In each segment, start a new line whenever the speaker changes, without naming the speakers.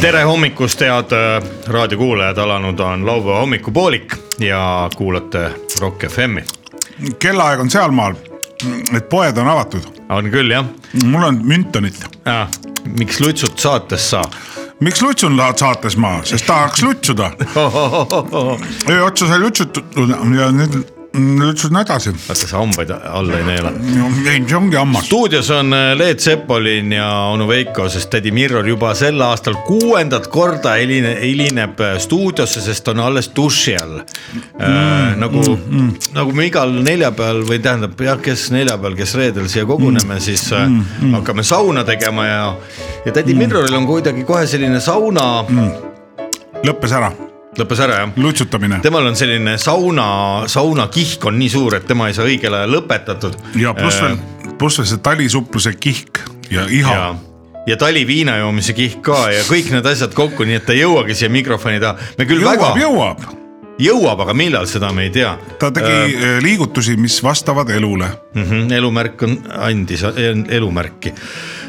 tere hommikust , head äh, raadiokuulajad , alanud on laupäeva hommikupoolik ja kuulate Rock FM-i .
kellaaeg on sealmaal , et poed on avatud .
on küll jah
mul on Müntonit .
ah, , miks lutsut saates saab
miks lutsun tahad saates ma , sest tahaks lutsuda .
oh, ? Oh, oh, oh.
öö otsa sai lutsutud ja nüüd lutsun edasi .
vaata sa hambaid alla ei neela .
ei , see ongi hammas .
stuudios on äh, Leet Sepolin ja onu Veiko , sest tädi Mirror juba sel aastal kuuendat korda heline- , helineb äh, stuudiosse , sest on alles duši all mm, . nagu mm, , nagu me igal neljapäeval või tähendab jah , kes neljapäeval , kes reedel siia koguneme mm, , siis mm, mm. hakkame sauna tegema ja , ja tädi mm. Mirroril on kuidagi kohe selline sauna mm. ,
lõppes ära ,
lõppes ära jah ?
lutsutamine .
temal on selline sauna , saunakihk on nii suur , et tema ei saa õigel ajal lõpetatud . Äh,
ja pluss veel , pluss veel see talisupluse kihk ja
ja
iha .,
ja taliviina joomise kihk ka ja kõik need asjad kokku , nii et ta ei jõuagi siia mikrofoni taha . me küll
jõuab ,
väga ,
jõuab .
jõuab , aga millal , seda me ei tea
ta tegi äh, liigutusi , mis vastavad elule .
mm . -hmm, elumärk on , andis el- elumärki mm .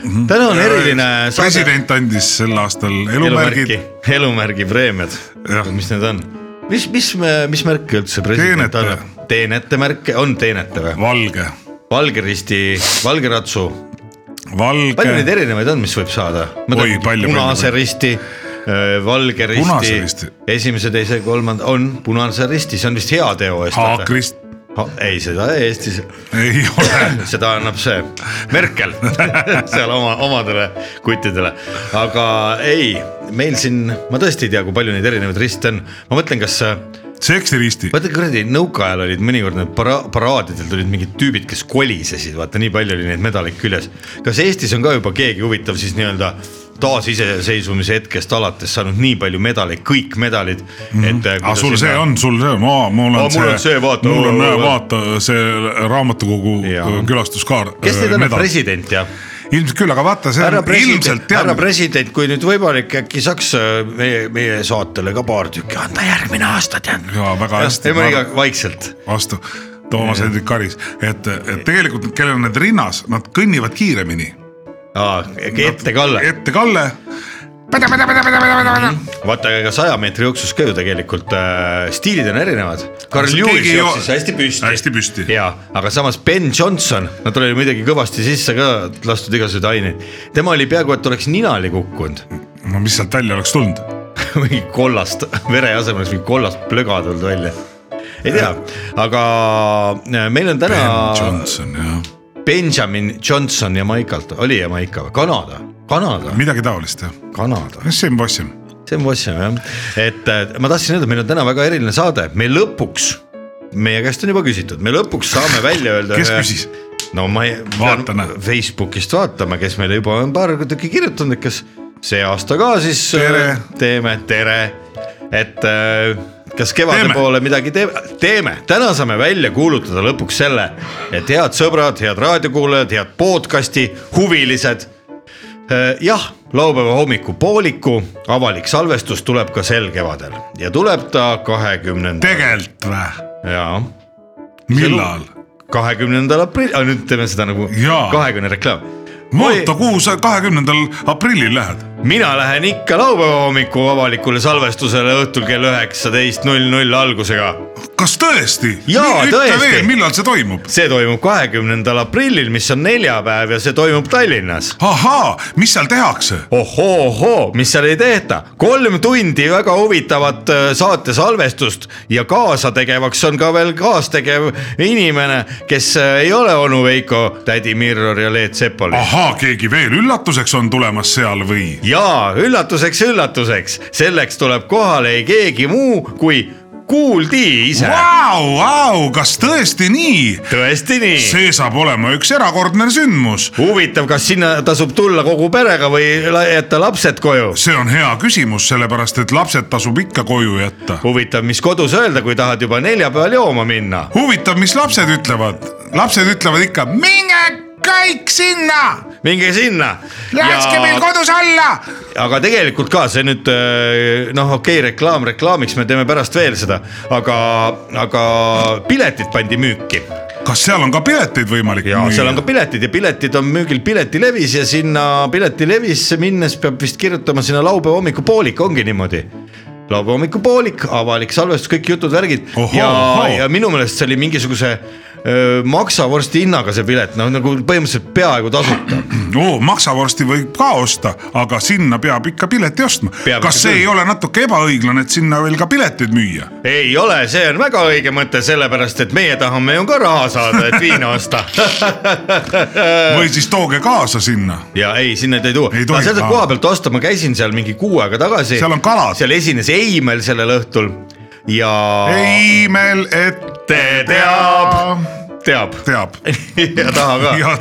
-hmm. täna on eriline saade .
Mhm. Äh, president andis sel aastal
elumärgi
elumärgid ,,
elumärgi preemiad
Jah. ,
mis need on ? mis , mis , mis märke üldse president
Teenete.
annab ? teenete märke , on teenete või ?
valge ,
valge risti , valge ratsu , palju neid
valge ,
erinevaid on , mis võib saada ?
Oi, palju,
punase
palju.
risti , valge
Punase
risti
risti. ,
esimese , teise , kolmanda on punase risti , see on vist heateo eest .
haakrist
ei , seda Eestis ,
ei ole
seda annab see Merkel seal oma , omadele kuttidele , aga ei , meil siin , ma tõesti ei tea , kui palju neid erinevaid riste on , ma mõtlen , kas
seksiristi ,
vaata kuradi nõukaajal olid mõnikord need para- , paraadidel tulid mingid tüübid , kes kolisesid , vaata nii palju oli neid medaleid küljes . kas Eestis on ka juba keegi huvitav siis nii-öelda taasiseseisvumise hetkest alates saanud nii palju medaleid , kõik medalid mm , -hmm. et .
Mhm. aga sul see on , sul see on , aa , mul
Aa,
on
mul on see, vaata,
mul on
oo, oo, oo.
vaata see raamatukogu äh,
Jaa.
öö, külastuskaart .
kes neid annab , president ja ?
ilmselt küll , aga vaata , see
härra
on ilmselt
president , härra
teadmine ,
president , kui nüüd võimalik , äkki saaks äh, meie , meie saatele ka paar tükki anda järgmine aasta , tead .
Jaa, väga hästi.
ei , ma iga , vaikselt .
vastu Toomas Hendrik Karis , et , et tegelikult , kellel on need rinnas , nad kõnnivad kiiremini .
ette Kalle
ette Kalle ,
vaata , ega saja meetri jooksus ka ju tegelikult äh, stiilid on erinevad . Carl
Kas
Lewis
keegi ei
jooksis
joo-
hästi püsti .
hästi püsti.
ja , aga samas Ben Johnson , no tal oli muidugi kõvasti sisse ka lastud igasuguseid aineid . tema oli peaaegu , et oleks ninali kukkunud
no mis sealt välja oleks tulnud ,
mingi kollast , vere asemel oleks mingi kollast plöga tulnud välja . ei tea , aga äh, meil on täna
Ben Johnson jah ,
Benjamin Johnson Jamaicalt , oli Jamaica või , Kanada , Kanada ,
midagi taolist jah ,
Kanada .
Sam Wassim ,
see on Vossam jah , et äh, ma tahtsin öelda , meil on täna väga eriline saade , me lõpuks , meie käest on juba küsitud , me lõpuks saame välja öelda .
Kes küsis? ?
no ma ei ,
Vaatame.
Facebookist vaatame , kes meile juba on paar tükki kirjutanud , et kas see aasta ka siis äh,
Tere.
teeme , tere , et äh, kas kevade
Teeme.
teeme. poole midagi teeme , teeme , täna saame välja kuulutada lõpuks selle , et head sõbrad , head raadiokuulajad , head podcast'i huvilised Äh, jah , laupäeva hommikupooliku avalik salvestus tuleb ka sel kevadel ja tuleb ta kahekümnenda ,
tegelikult või ,
jaa ,
millal ?
kahekümnendal aprillil , nüüd teeme seda nagu
Jaa.
kahekümne reklaam .
oota , kuhu sa kahekümnendal aprillil lähed ?
mina lähen ikka laupäeva hommiku avalikule salvestusele õhtul kell üheksateist null null algusega .
kas tõesti ?
Jaa,
ütle
tõesti.
veel , millal see toimub ?
see toimub kahekümnendal aprillil , mis on neljapäev ja see toimub Tallinnas
ahaa , mis seal tehakse ?
ohoo-ohoo , mis seal ei tehta , kolm tundi väga huvitavat äh, saatesalvestust ja kaasategevaks on ka veel kaastegev inimene , kes äh, ei ole onu Veiko , tädi Mirror ja Leet Sepoli .
ahaa , keegi veel üllatuseks on tulemas seal või ?
ja üllatuseks , üllatuseks , selleks tuleb kohale ei keegi muu kui kuuldi ise wow! .
Vau , vau , kas tõesti nii ?
tõesti nii .
see saab olema üks erakordne sündmus .
huvitav , kas sinna tasub tulla kogu perega või la- jätta lapsed koju ?
see on hea küsimus , sellepärast et lapsed tasub ikka koju jätta .
huvitav , mis kodus öelda , kui tahad juba neljapäeval jooma minna .
huvitav , mis lapsed ütlevad ? lapsed ütlevad ikka , minge kõik sinna ,
minge sinna .
laske meil kodus olla .
aga tegelikult ka see nüüd öö, noh , okei okay, , reklaam reklaamiks , me teeme pärast veel seda , aga , aga piletid pandi müüki
kas seal on ka pileteid võimalik
ja seal on ka piletid ja piletid on müügil Piletilevis ja sinna Piletilevisse minnes peab vist kirjutama sinna laupäeva hommikupoolik , ongi niimoodi laupäeva hommikupoolik , avalik salvestus , kõik jutud , värgid
Ohoo,
ja
ohoo. ,
ja minu meelest see oli mingisuguse öö, maksavorsti hinnaga see pilet , noh nagu põhimõtteliselt peaaegu tasuta .
oo , maksavorsti Oh, võib ka osta , aga sinna peab ikka pileti ostma
Peab . ikka
kas see
küll.
ei ole natuke ebaõiglane , et sinna veel ka pileteid müüa ?
ei ole , see on väga õige mõte , sellepärast et meie tahame ju ka raha saada , et viina osta Äh.
või siis tooge kaasa sinna .
ja ei , sinna ei tuua
Ei .
no
tohi,
seda
aa.
koha pealt osta , ma käisin seal mingi kuu aega tagasi .
Seal on kalad.
seal esines Eimel sellel õhtul ja .
ei , meil ette
teab.
teab .
teab
teab .
ja taha ka .
ja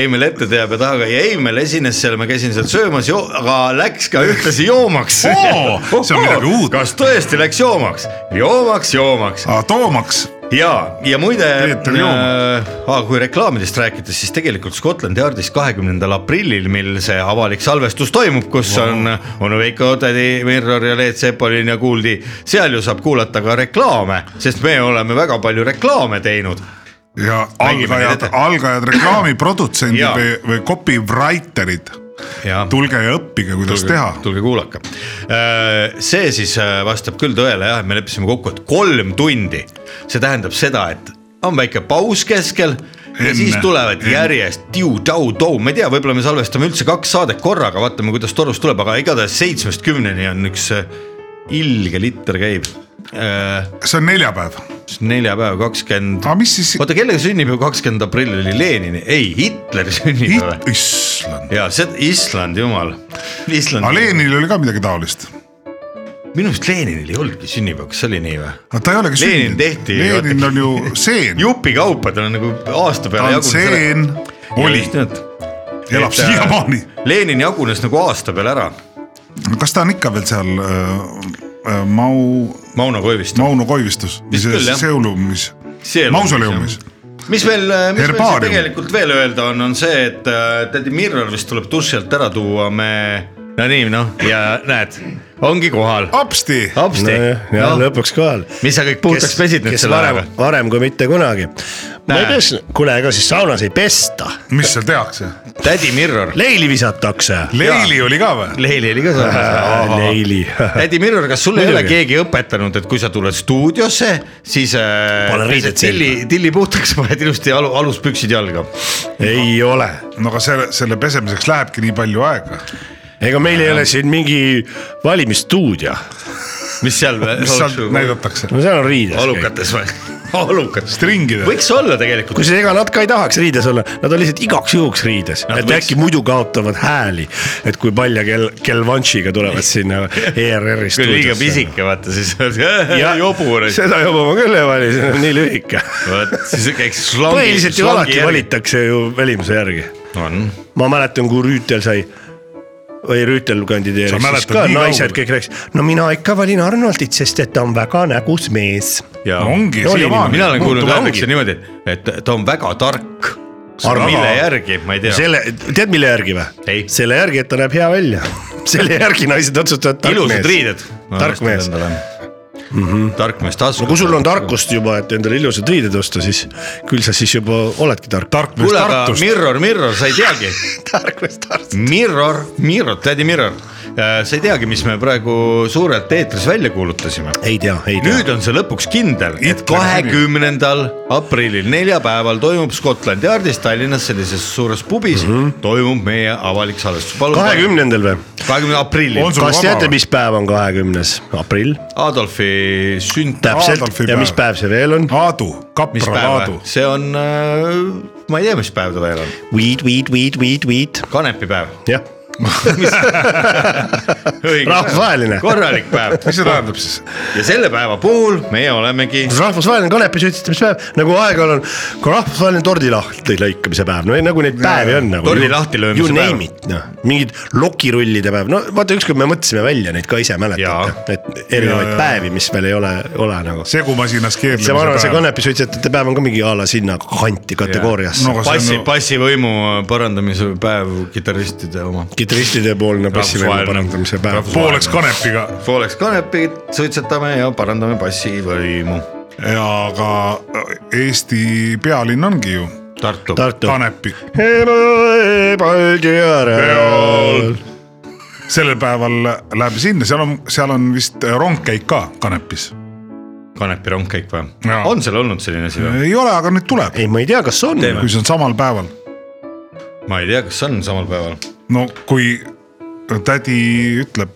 Eimel ette teab ja taha ka ja Eimel esines seal , ma käisin seal söömas , aga läks ka ühtlasi joomaks .
Oo, see on midagi uut.
kas tõesti läks joomaks ? joomaks , joomaks
aga toomaks ,
ja , ja muide ,
Peeter Jooma.
äh, kui reklaamidest rääkides , siis tegelikult Scotland Yardis kahekümnendal aprillil , mil see avalik salvestus toimub , kus wow. on onu Veiko , tädi Mirror ja Leet Sepolin ja Kuuldi , seal ju saab kuulata ka reklaame , sest me oleme väga palju reklaame teinud .
ja
Mängime neid
algajad
ette. ,
algajad reklaamiprodutsendid
Jaa.
või, või copywriterid ,
ja
tulge ja õppige , kuidas tulge. teha .
tulge kuulake . see siis äh, vastab küll tõele jah , et me leppisime kokku , et kolm tundi , see tähendab seda , et on väike paus keskel ja
Enne.
siis tulevad
Enne.
järjest tiu-tau-tau , ma ei tea , võib-olla me salvestame üldse kaks saadet korraga , vaatame , kuidas torus tuleb , aga igatahes seitsmest kümneni on üks äh, ilge litter käib .
see on neljapäev ,
neljapäev kakskümmend
aga mis siis ,
oota , kellega sünnipäev kakskümmend aprill oli Lenini , ei Hitleri sünnipäev
issand ,
ja see Island , jumal .
aga
Island ,
Leninil oli ka midagi taolist .
minu meelest Leninil ei olnudki sünnipäeva , kas see oli nii või ?
aga ta ei olegi
Lenin
sündinud .
tehti-
Lenin on ju seen ,
jupikaupa tal on nagu aasta
ta
peale
on seen , oli , elab
et, äh,
siiamaani .
Lenin jagunes nagu aasta peale ära ,
kas ta on ikka veel seal äh, äh, Mau ,
Mauno Koivisto .
Mauno Koivistus või
Vist küll, jah.
selles seulumis , mausoleumis ?
mis veel , mis meil siin
Herbaarium.
tegelikult veel öelda on , on see , et äh, tädi Mirror vist tuleb duši alt ära tuua , me , no nii noh , ja näed , ongi kohal .
hopsti ,
hopsti
nojah , ja
no, ,
lõpuks kohal .
mis sa kõik puhtaks pesid nüüd selle
varem
ajaga ?,
varem kui mitte kunagi . ma ei
Näe.
pesa , kuule , ega siis saunas ei pesta ,
mis seal tehakse ?
tädi Mirror ,
leili visatakse .
Leili oli ka või ?
Leili oli ka seal .
leili .
tädi Mirror , kas sul ei ole
Muidugi.
keegi õpetanud , et kui sa tuled stuudiosse , siis äh,
Pane riided
pesed tilli , tilli puhtaks paned ilusti alu , aluspüksid jalga .
ei ole ,
no aga selle , selle pesemiseks lähebki nii palju aega .
Äh,
ega meil ei ole siin mingi valimisstuudio ,
mis seal
mis seal ? näidatakse ?
no seal on riides .
olukates või ? olukates .
stringid või ?
võiks olla tegelikult .
kusjuures ega nad ka ei tahaks riides olla , nad on lihtsalt igaks juhuks riides ,
Nad
et
võiks-
võiks... äkki muidu kaotavad hääli , et kui palja kell , kell Vanšiga tulevad sinna E ERR-i
kui
stuudiosse .
liiga pisike , vaata siis
ja
jobur .
seda jobu ma küll ei vali , see on nii lühike .
vot siis käiks slangi .
põhiliselt ju alati järgi. . valitakse ju välimuse järgi .
on .
ma mäletan , kui Rüütel sai või Rüütel kandideeris ,
Sa
siis
mäletad
ka
nii
naised
kaugele?
kõik rääkisid , no mina ikka valin Arnoldit , sest et ta on väga nägus mees .
ja
No ongi,
Oli
siiamaani.
niimoodi. Ah, mina olen kuulnud
Muutub
öeldakse niimoodi , et ta on väga tark .
Arva-
mille järgi , ma ei tea .
selle , tead mille järgi või
Ei. ?
selle järgi , et ta näeb hea välja . selle järgi naised otsustavad , et tark
ilusad
mees .
riided .
Tark mees. .
tark mees taskus .
no kui sul on tarkust juba , et endale ilusad riided osta , siis küll sa siis juba oledki tark .
tark mees
kuule , aga
Tartust .
Mirror , Mirror , sa ei teagi .
tark mees tark .
Mirror , Mirror , tädi Mirror , sa ei teagi , mis me praegu suurelt eetris välja kuulutasime .
ei tea , ei tea .
nüüd on see lõpuks kindel , et
Hitler
kahekümnendal aprillil , neljapäeval toimub Scotland Yardis Tallinnas sellises suures pubis mm
Mhm.
-hmm. toimub meie avalik salvestus .
kahekümnendal või ?
kahekümne aprillil
On sul
kas
vaba
teate ,
või?
mis päev on kahekümnes aprill ?
Adolfi sünd .
täpselt
Adolfi
ja
päev.
mis päev see veel on ?
Aadu ,
mis
kapra
päev
Aadu , .
see on , ma ei tea , mis päev ta veel on ,
Weed , weed , weed , weed , weed .
kanepipäev
jah , Rahvusvaheline.
korralik päev
mis see tähendab siis ?
ja selle päeva puhul meie olemegi
rahvusvaheline kanepi sütitamispäev , nagu aeg-ajal on ka rahvusvaheline tordilahti lõikamise päev , no ei, nagu neid päevi on nagu .
Tordi lahti löömise
You
päev.
name it , noh , mingid lokirullide päev , no vaata , ükskord me mõtlesime välja neid ka ise , mäletate , et erinevaid
Jaa, jaa.
päevi , mis veel ei ole , ole nagu . see ,
segumasinas keerlemise
ma arvan , see
päev .
kanepi suitsetajate päev on ka mingi a la sinna kanti kategooriasse
No
no, .
aga see on
passi
ju- ,
passivõimu äh, parandamise päev , kitarristide oma .
kitarristide poolne passivõime
Rahvusvaheline-
parandamise päev .
rahvusvaheline-
pooleks kanepiga
pooleks kanepit , suitsetame ja parandame passivõimu .
ja aga äh, Eesti pealinn ongi ju
Tartu .
Tartu .
kanepi . sellel päeval läheb sinna , seal on , seal on vist äh, rongkäik ka kanepis .
kanepi rongkäik või
Jaa. ?
on seal olnud selline asi või ?
ei ole , aga nüüd tuleb ,
ei , ma ei tea , kas on .
Teeme.
kui see on samal päeval .
ma ei tea , kas on samal päeval .
no kui tädi ütleb ,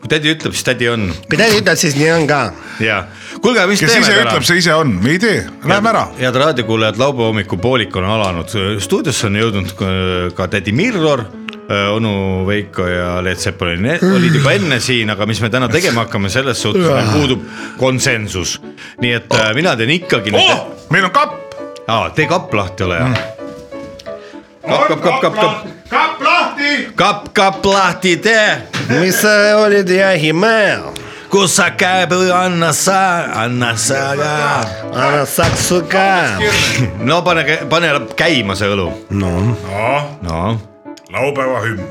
kui tädi ütleb , siis tädi on
midagi ütled , siis nii on ka
ja . kuulge , mis
kes
teeme
ise
täna
ütleb ,? see ise on , me ei tee , lähme ära .
head raadiokuulajad , laupäeva hommikupoolik on alanud , stuudiosse on jõudnud ka- ka tädi Mirror , onu Veiko ja Leet Sepolin e- olid juba enne siin , aga mis me täna tegema hakkame , selles suhtes meil puudub konsensus . nii et äh, mina teen ikkagi
oh Mm.
nüüd ,,
meil on kapp ,
aa , tee kapp lahti , ole hea . kapp , kapp , kapp , kapp , kapp ,
kapp lahti .
kapp , kapp lahti tee ,
mis sa olid jahimehe ,
kus sa käib , anna sa , anna sa ka .
anna saksu ka .
no pane , pane käima see õlu ,
no ,
noh ,
noh ,
laupäeva hümn ,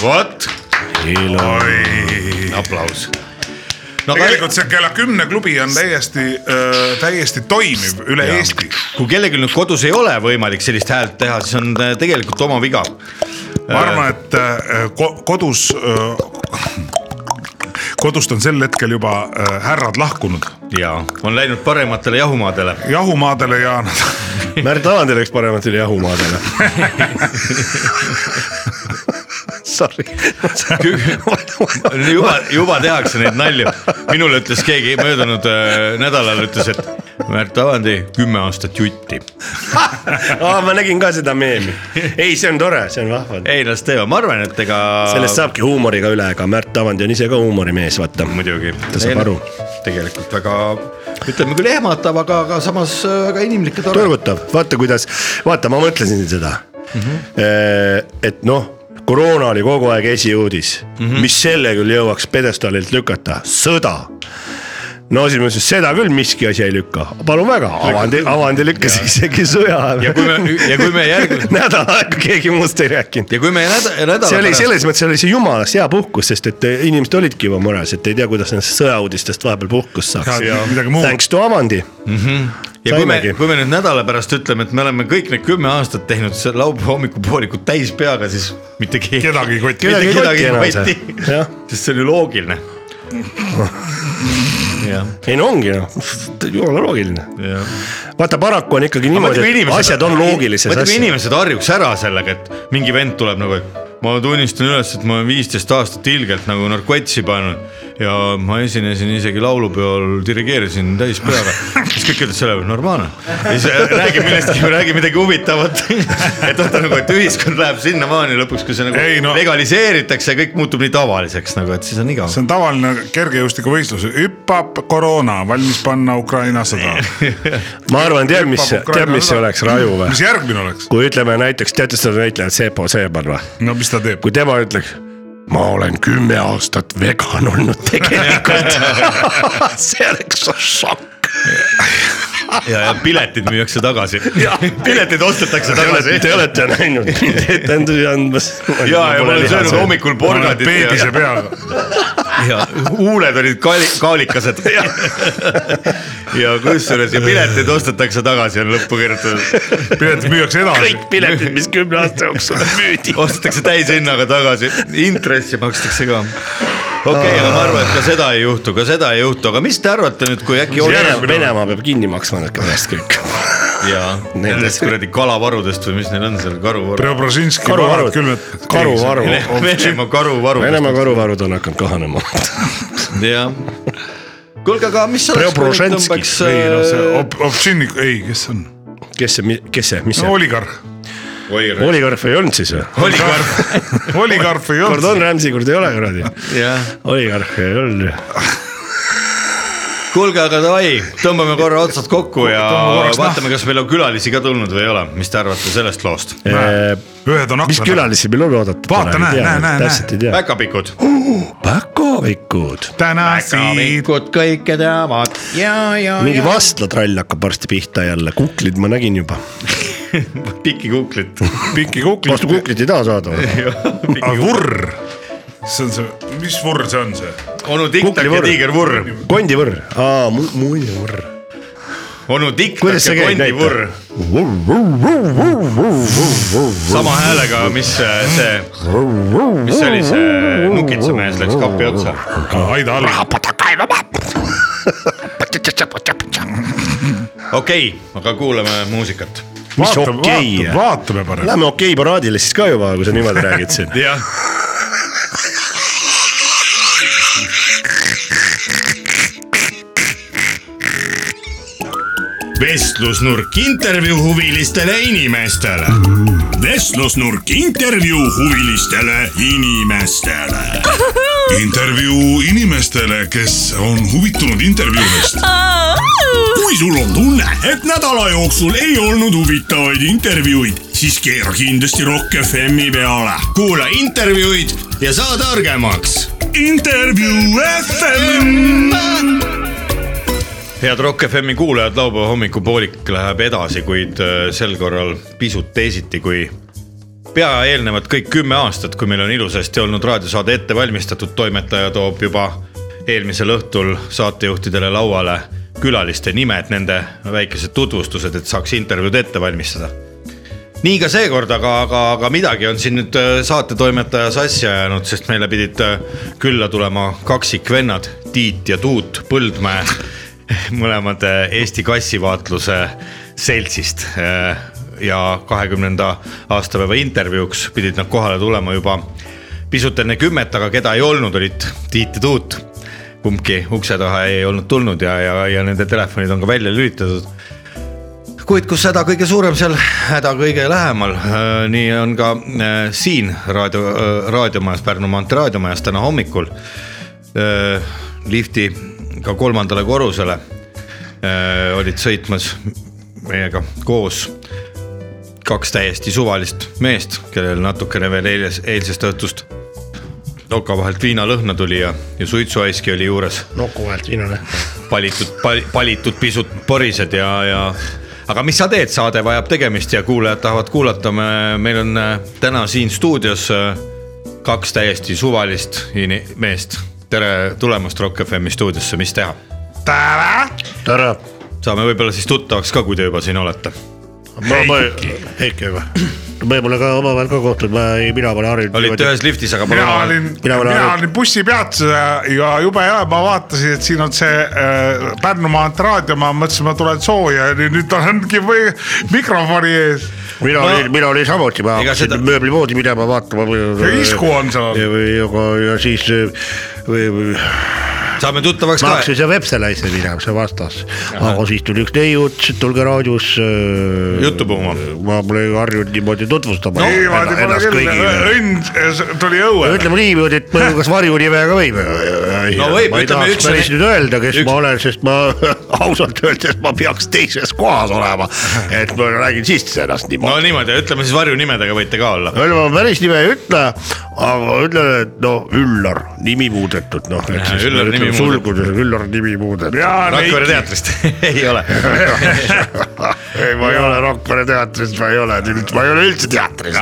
vot ,
oi .
aplaus .
tegelikult see kella kümne klubi on täiesti , täiesti toimiv üle
Jaa.
Eesti .
kui kellelgi nüüd kodus ei ole võimalik sellist häält teha , siis on äh, tegelikult oma viga .
ma arvan , et äh, ko- kodus , kodust on sel hetkel juba äh, härrad lahkunud
ja on läinud parematele jahumaadele .
jahumaadele ja nad
Märt Avan teil läks paremalt üle jahumaadele . Sorry .
juba , juba tehakse neid nalju . minule ütles keegi möödunud äh, nädalal ütles , et Märt Avandi kümme aastat jutti .
aa , ma nägin ka seda meemi . ei , see on tore , see on vahva .
ei las teevad , ma arvan , et ega .
sellest saabki huumoriga üle , aga Märt Avandi on ise ka huumorimees , vaata .
muidugi .
Ta saab aru. .
tegelikult väga , ütleme küll ehmatav , aga , aga samas äh, väga inimlik ja tore .
turgutav , vaata kuidas , vaata , ma mõtlesin seda mm . -hmm. et noh , koroona oli kogu aeg esiuudis mm , -hmm. mis selle küll jõuaks pjedestaalilt lükata , sõda . no siis ma ütlesin , seda küll miski asi ei lükka , palun väga , avandi , avandi lükkas isegi sõja
ja kui me ja kui me järgmine
nädal aega keegi muust ei rääkinud
ja kui me näda- nädala
see oli selles mõttes , see oli see jumalast hea puhkus , sest et eh, inimesed olidki juba mures , et ei tea , kuidas nendest sõjauudistest vahepeal puhkust saaks .
ja midagi muud .
Thanks to Avandi mm .
Mhm. ja kui me
Saimegi. ,
kui me nüüd nädala pärast ütleme , et me oleme kõik need kümme aastat teinud see laupäeva hommikupoolikut täis peaga , siis mitte keegi .
kedagi ei koti .
mitte
Kedagi ei
kedagi ei
koti enam
koti
see. Jah. ,
sest see on ju loogiline . jah ,
ei no ongi noh , jumala loogiline
jah .
vaata , paraku on ikkagi niimoodi , et asjad on loogilises
asjas .
asjas .
inimesed harjuks ära sellega , et mingi vend tuleb nagu , et ma tunnistan üles , et ma olen viisteist aastat ilgelt nagu narkotsi pannud ja ma esinesin isegi laulupeol , dirigeerisin täis peaga . siis kõik ütlesid selle peale , normaalne . ja siis äh, räägi millestki , räägi midagi huvitavat . et vaata nagu , et ühiskond läheb sinnamaani lõpuks , kui see nagu
Ei, no-
legaliseeritakse ja kõik muutub nii tavaliseks nagu , et siis on igav
see . on tavaline kergejõustikuvõistlus , hüppab koroona , valmis panna Ukraina sõda .
ma arvan , tead , mis ,
Hüppab
tead , mis
Ukraina
oleks raju
mis
või ?
järgmine oleks ?
kui ütleme näiteks , teate seda näitlejat Sepo Seeman või ?
no mis ta teeb ?
kui tema ütleks , ma olen kümme aastat vegan olnud tegelikult . see oleks šokk .
ja , ja piletid müüakse tagasi . piletid ostetakse
Te
tagasi
olete , te olete näinud mind etendusi andmas .
ja , ja ma olen söönud . hommikul porgandit .
beebise peaga .
ja huuled olid kaali- , kaalikased . ja kusjuures ja pileteid ostetakse tagasi , on lõppu kirjutatud .
piletid müüakse edasi .
kõik piletid , mis kümne aasta jooksul müüdi .
ostetakse täishinnaga tagasi , intressi makstakse ka okei okay, , aga ma arvan , et ka seda ei juhtu , ka seda ei juhtu , aga mis te arvate nüüd , kui äkki .
Venemaa peab kinni maksma need kõigest kõik .
ja nendest kuradi kalavarudest või mis neil on seal , karuvaru .
Preobražinski varad
karuvarud
külmet .,
karuvaru .
Venemaa karuvarudest ,
Venemaa karuvarud on hakanud kahanema
jah . kuulge , aga mis oleks , kui nüüd
Preobroženskis.
tõmbaks
ei no see
äh,
Ob- , Obtšinnik , ei , kes see on ?
kes see , kes see , mis see
no oligarh ,
oli ,
Oligarf ei olnud siis või ?
oli karp ,
Oligarf ei
kord
olnud
on . Rämsi , kord ei ole kuradi .
jah .
oligarh ei olnud .
kuulge , aga davai , tõmbame korra otsad kokku ja
Tõmbame korraks
vaatame , kas meil on külalisi ka tulnud või ei ole , mis te arvate sellest loost ?
ühed on
Äh, mis
aknad .
külalisi meil on oodata ?
Vaata, näe, näe, näe,
täpselt ei tea .
päkapikud .
päkapikud .
täna siit .
kõik teavad ja , ja ,
mingi vastlatrall hakkab varsti pihta jälle , kuklid ma nägin juba .
pikki kuklit .
pikki kuklit
vastu . kuklit ei taha saada või ?
vurr . see on see , mis vurr see on see ?
onu Tiktak ja
Kuklivõrr.
tiigervurr , kondivõrr ,
aa , muinevõrr .
onu Tiktak
kuidas see
ja
käib ,
kondivurr
näita ..
sama häälega , mis äh, see , mis see oli , see nukitsamees läks kapi otsa .
Aida Alli .
okei okay, , aga kuulame muusikat .
mis
vaatame ,
okei
vaatame ,? vaatame parem .
Lähme okei paraadile siis ka juba , kui sa niimoodi räägid siin .
jah .
vestlusnurk intervjuu huvilistele inimestele . vestlusnurk intervjuu huvilistele inimestele .
intervjuu inimestele , kes on huvitunud intervjuudest .
kui sul on tunne , et nädala jooksul ei olnud huvitavaid intervjuuid , siis keera kindlasti Rock FM-i peale .
kuula intervjuud ja saa targemaks .
intervjuu FM .
head Rock FM-i kuulajad , laupäeva hommikupoolik läheb edasi , kuid äh, sel korral pisut teisiti , kui pea eelnevad kõik kümme aastat , kui meil on ilusasti olnud raadiosaade ette valmistatud , toimetaja toob juba eelmisel õhtul saatejuhtidele lauale külaliste nimed , nende väikesed tutvustused , et saaks intervjuud ette valmistada nii ka seekord , aga , aga , aga midagi on siin nüüd äh, saatetoimetaja sassi ajanud , sest meile pidid äh, külla tulema kaksikvennad Tiit ja Tuut Põldmäe , mõlemad äh, Eesti Kassivaatluse Seltsist . ja kahekümnenda aastapäeva intervjuuks pidid nad kohale tulema juba pisut enne kümmet , aga keda ei olnud , olid Tiit ja Tuut . kumbki ukse taha ei olnud tulnud ja , ja , ja nende telefonid on ka välja lülitatud kuid kus häda kõige suurem , seal häda kõige lähemal . nii on ka äh, siin raadio , raadiomajas , Pärnu maantee raadiomajas täna hommikul . liftiga kolmandale korrusele äh, olid sõitmas meiega koos kaks täiesti suvalist meest , kellel natukene veel eiles , eilsest õhtust toka vahelt viinalõhna tuli ja , ja suitsuaiski oli juures
nuku vahelt viinale .
palitud pal, , palitud pisut porised ja , ja aga mis sa teed , saade vajab tegemist ja kuulajad tahavad kuulata , me , meil on äh, täna siin stuudios äh, kaks täiesti suvalist ini- meest . tere tulemast Rock FM-i stuudiosse , mis teha ?
tere .
saame võib-olla siis tuttavaks ka , kui te juba siin olete .
ma , ma , Heiki või ? me pole ka omavahel ka kohtunud , ma ei , mina pole harjunud .
olite ühes liftis , aga pole
mina
omavahel-
olin ,
Mina
mina
olen Aadu.
olin bussipeatuses ja, ja jube hea , ma vaatasin , et siin on see äh, Pärnu maantee raadio , ma mõtlesin , ma tulen sooja ja nüüd- nüüd olengi või- mikrofoni ees .
mina
Ma-
olin , mina olin samuti , ma
Ega
hakkasin
seda-
seda... mööblipoodi minema vaatama .
isku on seal .
ja , ja , ja siis äh, või, või,
saame tuttavaks
ma
ka .
hakkasin seal Vepselaisse minema , see vastas . aga siis tuli üks neiu , ütles , et tulge raadios .
Juttu puhuma.
ma pole harjunud niimoodi tutvustama .
niimoodi pole küll , õnn tuli õue .
ütleme niimoodi , et ma kas varjunime ka võime . no
võib,
ma ei
ütleme
tahaks
üks-
päris nüüd öelda , kes
üks-
ma olen , sest ma ausalt öeldes ma peaks teises kohas olema . et ma räägin siis ennast
no
niimoodi .
niimoodi , ütleme siis varjunimedega võite ka olla .
no ma päris nime ei ütle , aga ütlen , et no Üllar , nimi muudetud , noh .
Üllar nimi
sulgudes on Üllar nimi muudetud .
ja
Rakvere
Neiki ,
teatrist ei ole .
ei , ma ei ole Rakvere teatris , ma ei ole , ma ei ole üldse teatris .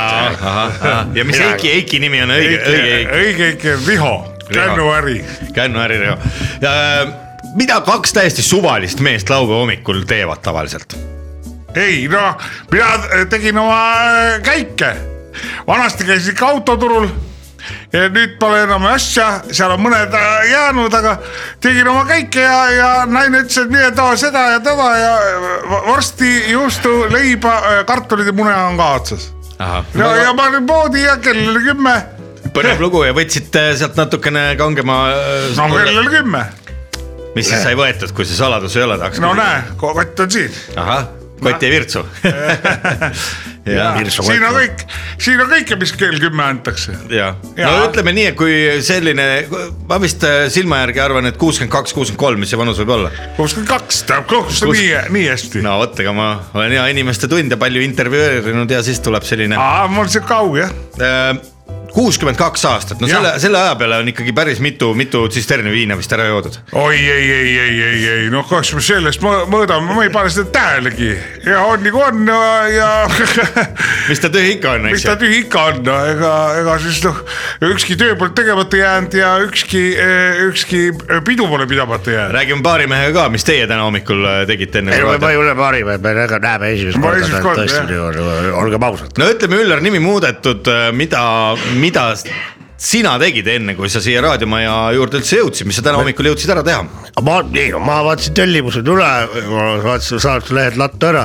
ja mis Heiki , Heiki nimi on õige , õige Heiki ?
õige ikka Riho , kännuäri .
kännu ärireo . äh, mida kaks täiesti suvalist meest laupäeva hommikul teevad tavaliselt ?
ei noh , mina tegin oma eh, käike . vanasti käisin ikka autoturul . Ja nüüd pole enam asja , seal on mõned äh, jäänud , aga tegin oma käike ja , ja naine ütles , et mine too seda ja toda ja v- varsti juustu , leiba , kartulid ja mune on ka otsas . no ja ma olin poodi ja kell oli kümme ,
põnev lugu ja võtsite sealt natukene kangema .
no kell oli kümme ,
mis siis sai võetud , kui see saladus ei ole , tahaks .
no näe , kott on siin .
ahah , kott jäi virtsu . Jaa.
Virsu
siin on
Koiku.
kõik , siin on kõike , mis kell kümme antakse .
ja ,
Jaa.
no ütleme nii , et kui selline , ma vist äh, silma järgi arvan , et kuuskümmend kaks , kuuskümmend kolm , mis see vanus võib olla .
kuuskümmend kaks , tähendab kuuskümmend
Kus-
nii , nii hästi no. .
no vot , ega ma olen hea inimeste tunde palju intervjueerinud ja siis tuleb selline
aa , mul see kaug jah ,
Äh, kuuskümmend kaks aastat , no
Jah.
selle , selle aja peale on ikkagi päris mitu , mitu tsisterni viina vist ära joodud .
oi ei , ei , ei , ei , ei noh , kas me sellest mõ- mõõdame , ma ei pane seda tähelegi ja on nagu on ja, ja
mis ta tühi ikka on ,
mis
eks
ta
ju .
tühi ikka on , no ega , ega siis noh , ükski töö pole tegemata jäänud ja ükski , ükski pidu pole pidamata jäänud .
räägime baarimehega ka , mis teie täna hommikul äh, tegite enne
ei ,
kui
ma
vaatame
ei . ole parim , me näeme näeme esimest
Ma esimest korda,
korda tõesti
jah.
niimoodi , olgem ausad .
no ütleme , Üllar , nimi muudetud , mida , mida sina tegid enne , kui sa siia raadiomaja juurde üldse jõudsid , mis sa täna hommikul jõudsid ära teha ?
ma , nii , ma vaatasin tellimused üle , vaatasin saatuslehelt lattu ära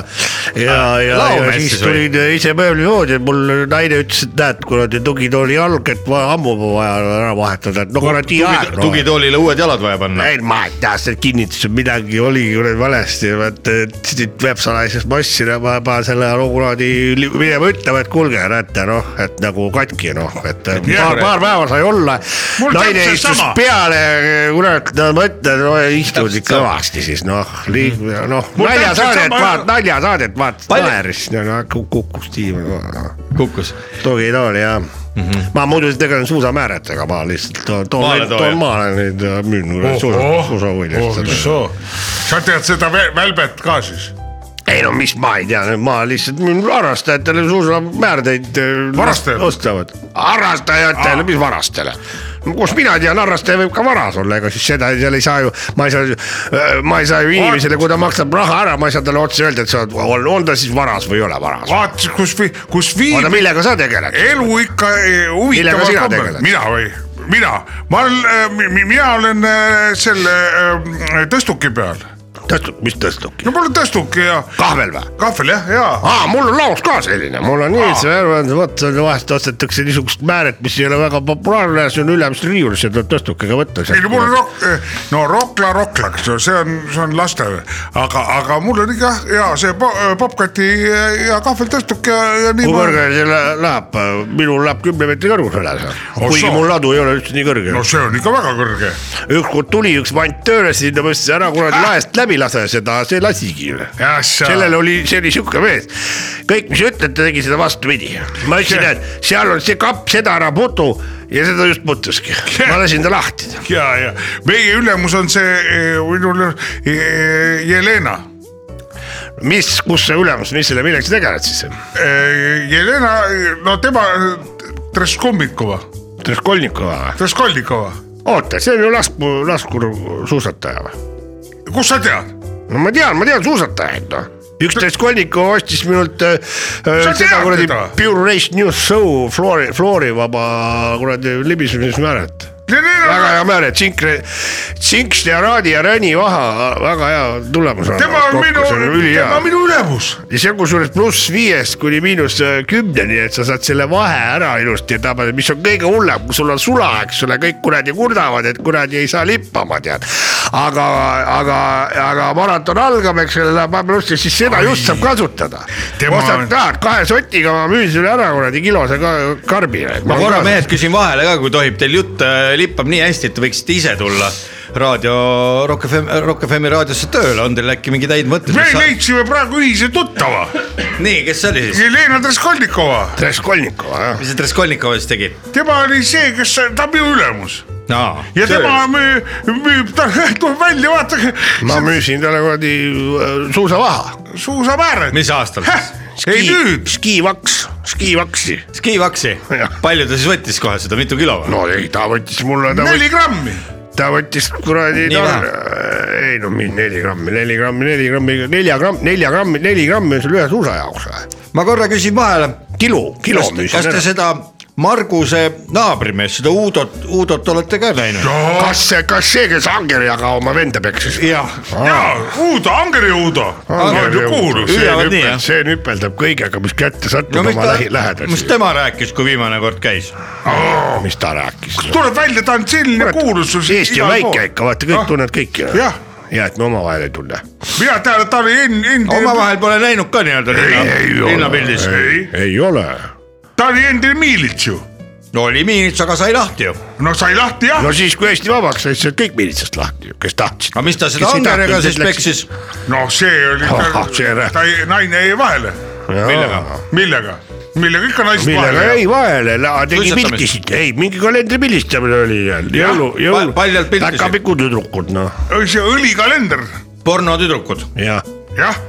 ja , ja , ja
laomees
siis
siis või?
tulin ise mööblivoodi , mul naine ütles , et näed , kuradi tugitooli jalg , et va- ammu on vaja ära vahetada , et no kuradi aeg no.
tugitoolile uued jalad vaja panna .
ei , ma ei tea , see kinnitus , et midagi oli kuradi valesti , et et siit peab salajases massi , ma pean selle no kuradi li- minema ütlema , et kuulge , näete noh , et nagu katki noh , et paar , paar päeva sai olla .
Mul
naine
täpselt
istus
sama.
peale , kurat , no ma ütlen , no istusid
sama.
kõvasti siis noh , noh
Mul täpselt
naljasaadet
sama-
vaat- , naljasaadet vaatasid
Palju-
naerist ja noh kuk- kukkus tiim no, .
kukkus .
tugitooli ja mm , -hmm. ma muidu tegelen suusamääretega , ma lihtsalt toon ,
Maale
toon ,
too,
toon
jah.
maale neid ja müün suusa , suusauljast .
sa tead seda vä- välbet ka siis ?
ei no mis ma ei tea , ma lihtsalt müün harrastajatele suusamäärdeid .
Varastajatele?
ostavad , äh, harrastajatele , mis varastele ? kus mina tean , harrastaja võib ka varas olla , ega siis seda seal ei saa ju , ma ei saa ju , ma ei saa ju inimesele , kui ta maksab raha ära , ma ei saa talle otse öelda , et sa oled , on on ta siis varas või ei ole varas .
vaata kus , kus
oota ,
viib
millega sa tegeled ?
elu ikka eh,
Millega
huvitaval
sina
kombel ,
tegeled?
mina või ? mina , ma olen , mina olen eh, selle eh, tõstuki peal .
tõstuk , mis tõstuk ?
no mul on tõstuk ja
kahvel või ?
kahvel jah , ja .
aa , mul on laos ka selline , mul on
Aa.
nii , see värv on , vot vahest ostetakse niisugust määret , mis ei ole väga populaarne , see on ülemus riiulis ja tuleb tõstukega võtta .
ei no mul on rok- , no Rokla roklaks , see on , see on laste , aga , aga mul on ikka ja see po- eh, popkati eh, ja kahveltõstuk ja , ja nii
kui . kõrgele see lä- läheb , minul läheb kümne meetri kõrgusele see , kuigi
Ossa.
mul ladu ei ole üldse nii kõrge
no . see on ikka väga kõrge .
ükskord tuli üks vant tööle , siis ta mõtles ära kuradi laest läbi lase seda , see lasigi . sellel oli , see oli sihuke mees , kõik , mis ütlete , tegi seda vastupidi . ma ütlesin ,
See-
et seal on see kapp , seda ära putu ja seda just putuski , ma lasin ta lahti
ja , ja meie ülemus on see eh, minu ülemus- eh, Jelena .
mis , kus see ülemus , mis selle , milleks sa tegeled siis ?
Äh, Jelena , no tema Treskomikova ,
Treskolnikova või ?
Treskolnikova ,
oota , see on ju lasku , laskursuusataja või ?
kust sa tead ?
no ma tean , ma tean suusatajaid noh . üks Treskolnikova ostis minult äh,
Sa
äh, seda
tead
kuradi
teda?
Pure Race New Show Flori , Florivaba kuradi libisemismääret . väga
Jelena ,
hea määre , tsink , tsinks ja raadi ja räni vaha , väga hea tulemus on .
tema on minu , tema on minu ülemus
ja see on kusjuures pluss viiest kuni miinus äh, kümneni , et sa saad selle vahe ära ilusti tabada , mis on kõige hullem , kui sul on sula , eks ole , kõik kuradi kurdavad , et kuradi ei saa lippama , tead . aga , aga , aga maraton algab , eks ole , läheb plussi , siis seda Ai, just saab kasutada .
Tema
ostad
on-
tahad kahe sotiga , ma müün sulle ära kuradi kilose ka karbile .
ma korra mehed küsin vahele ka , kui tohib , teil jutt äh, lippab nii hästi , et te võiksite ise tulla raadio Rock FM , Rock FM-i raadiosse tööle , on teil äkki mingeid häid mõtteid ?
me leidsime praegu ühise tuttava ,
nii , kes see oli siis ?
Jelena Treskolnikova
Treskolnikova jah .
mis see Treskolnikov siis tegi ?
tema oli see , kes , ta on minu ülemus
aa ,
ja tema müü- , müüb , ta tuleb välja , vaadake
ma müüsin talle kuradi äh, suusavaha .
suusamääred .
mis aastal siis ?
ei müüb ,
skivaks , skivaksi .
Skivaksi
Jah. ,
palju ta siis võttis kohe seda , mitu kilo või ?
no ei , ta võttis mulle , ta võttis
neli grammi .
ta võttis kuradi
Nii ,
ei no mingi neli grammi , neli grammi , neli grammi , nelja grammi , nelja grammi , neli grammi on sul ühe suusa jaoks või ?
ma korra küsin vahele .
kilo , kilo
kas te ,
müüsin
kas te
ära .
seda Marguse naabrimeest , seda Uudot , Uudot olete ka näinud ?
kas see , kas see , kes Angerjaga oma venda peksis ?
jah ,
jaa , Uudo , Angeri Uudo . kuulus .
Hüüavad nii, jah?
see nüpeldab kõigega , mis kätte satub
no mis
oma
ta
lähi ,
mis
lähedasi .
tema rääkis , kui viimane kord käis ?
mis ta rääkis ?
tuleb välja , ta on selline kuulus .
Ah.
Eesti on väike . ikka , vaata kõik tunnevad kõiki .
jah ,
ja et me omavahel ei tunne .
mina tean , et ta oli in- , endine ,
omavahel pole näinud ka nii-öelda linna , linnapildis .
ei ole .
ta oli endine miilits ju .
no oli miinits , aga sai lahti ju .
no sai lahti jah
no , siis , kui Eesti vabaks sai , siis olid kõik miilitsast lahti ju , kes tahtsid .
aga mis ta seda Angerega siis ? peksis ?
no see oli
Ahah, , see rä-
ta jäi , naine jäi vahele . millega , millega , millega ikka naist
millega
vahele
jäi ? vahele , tegi
Suitsetamist.
pilkisid , ei mingi kalendripildistamine oli seal , jõulu , jõulu .
paljalt pildisid.
päkapiku tüdrukud noh ,
see õlikalender ,
pornotüdrukud .
jah ,
jah .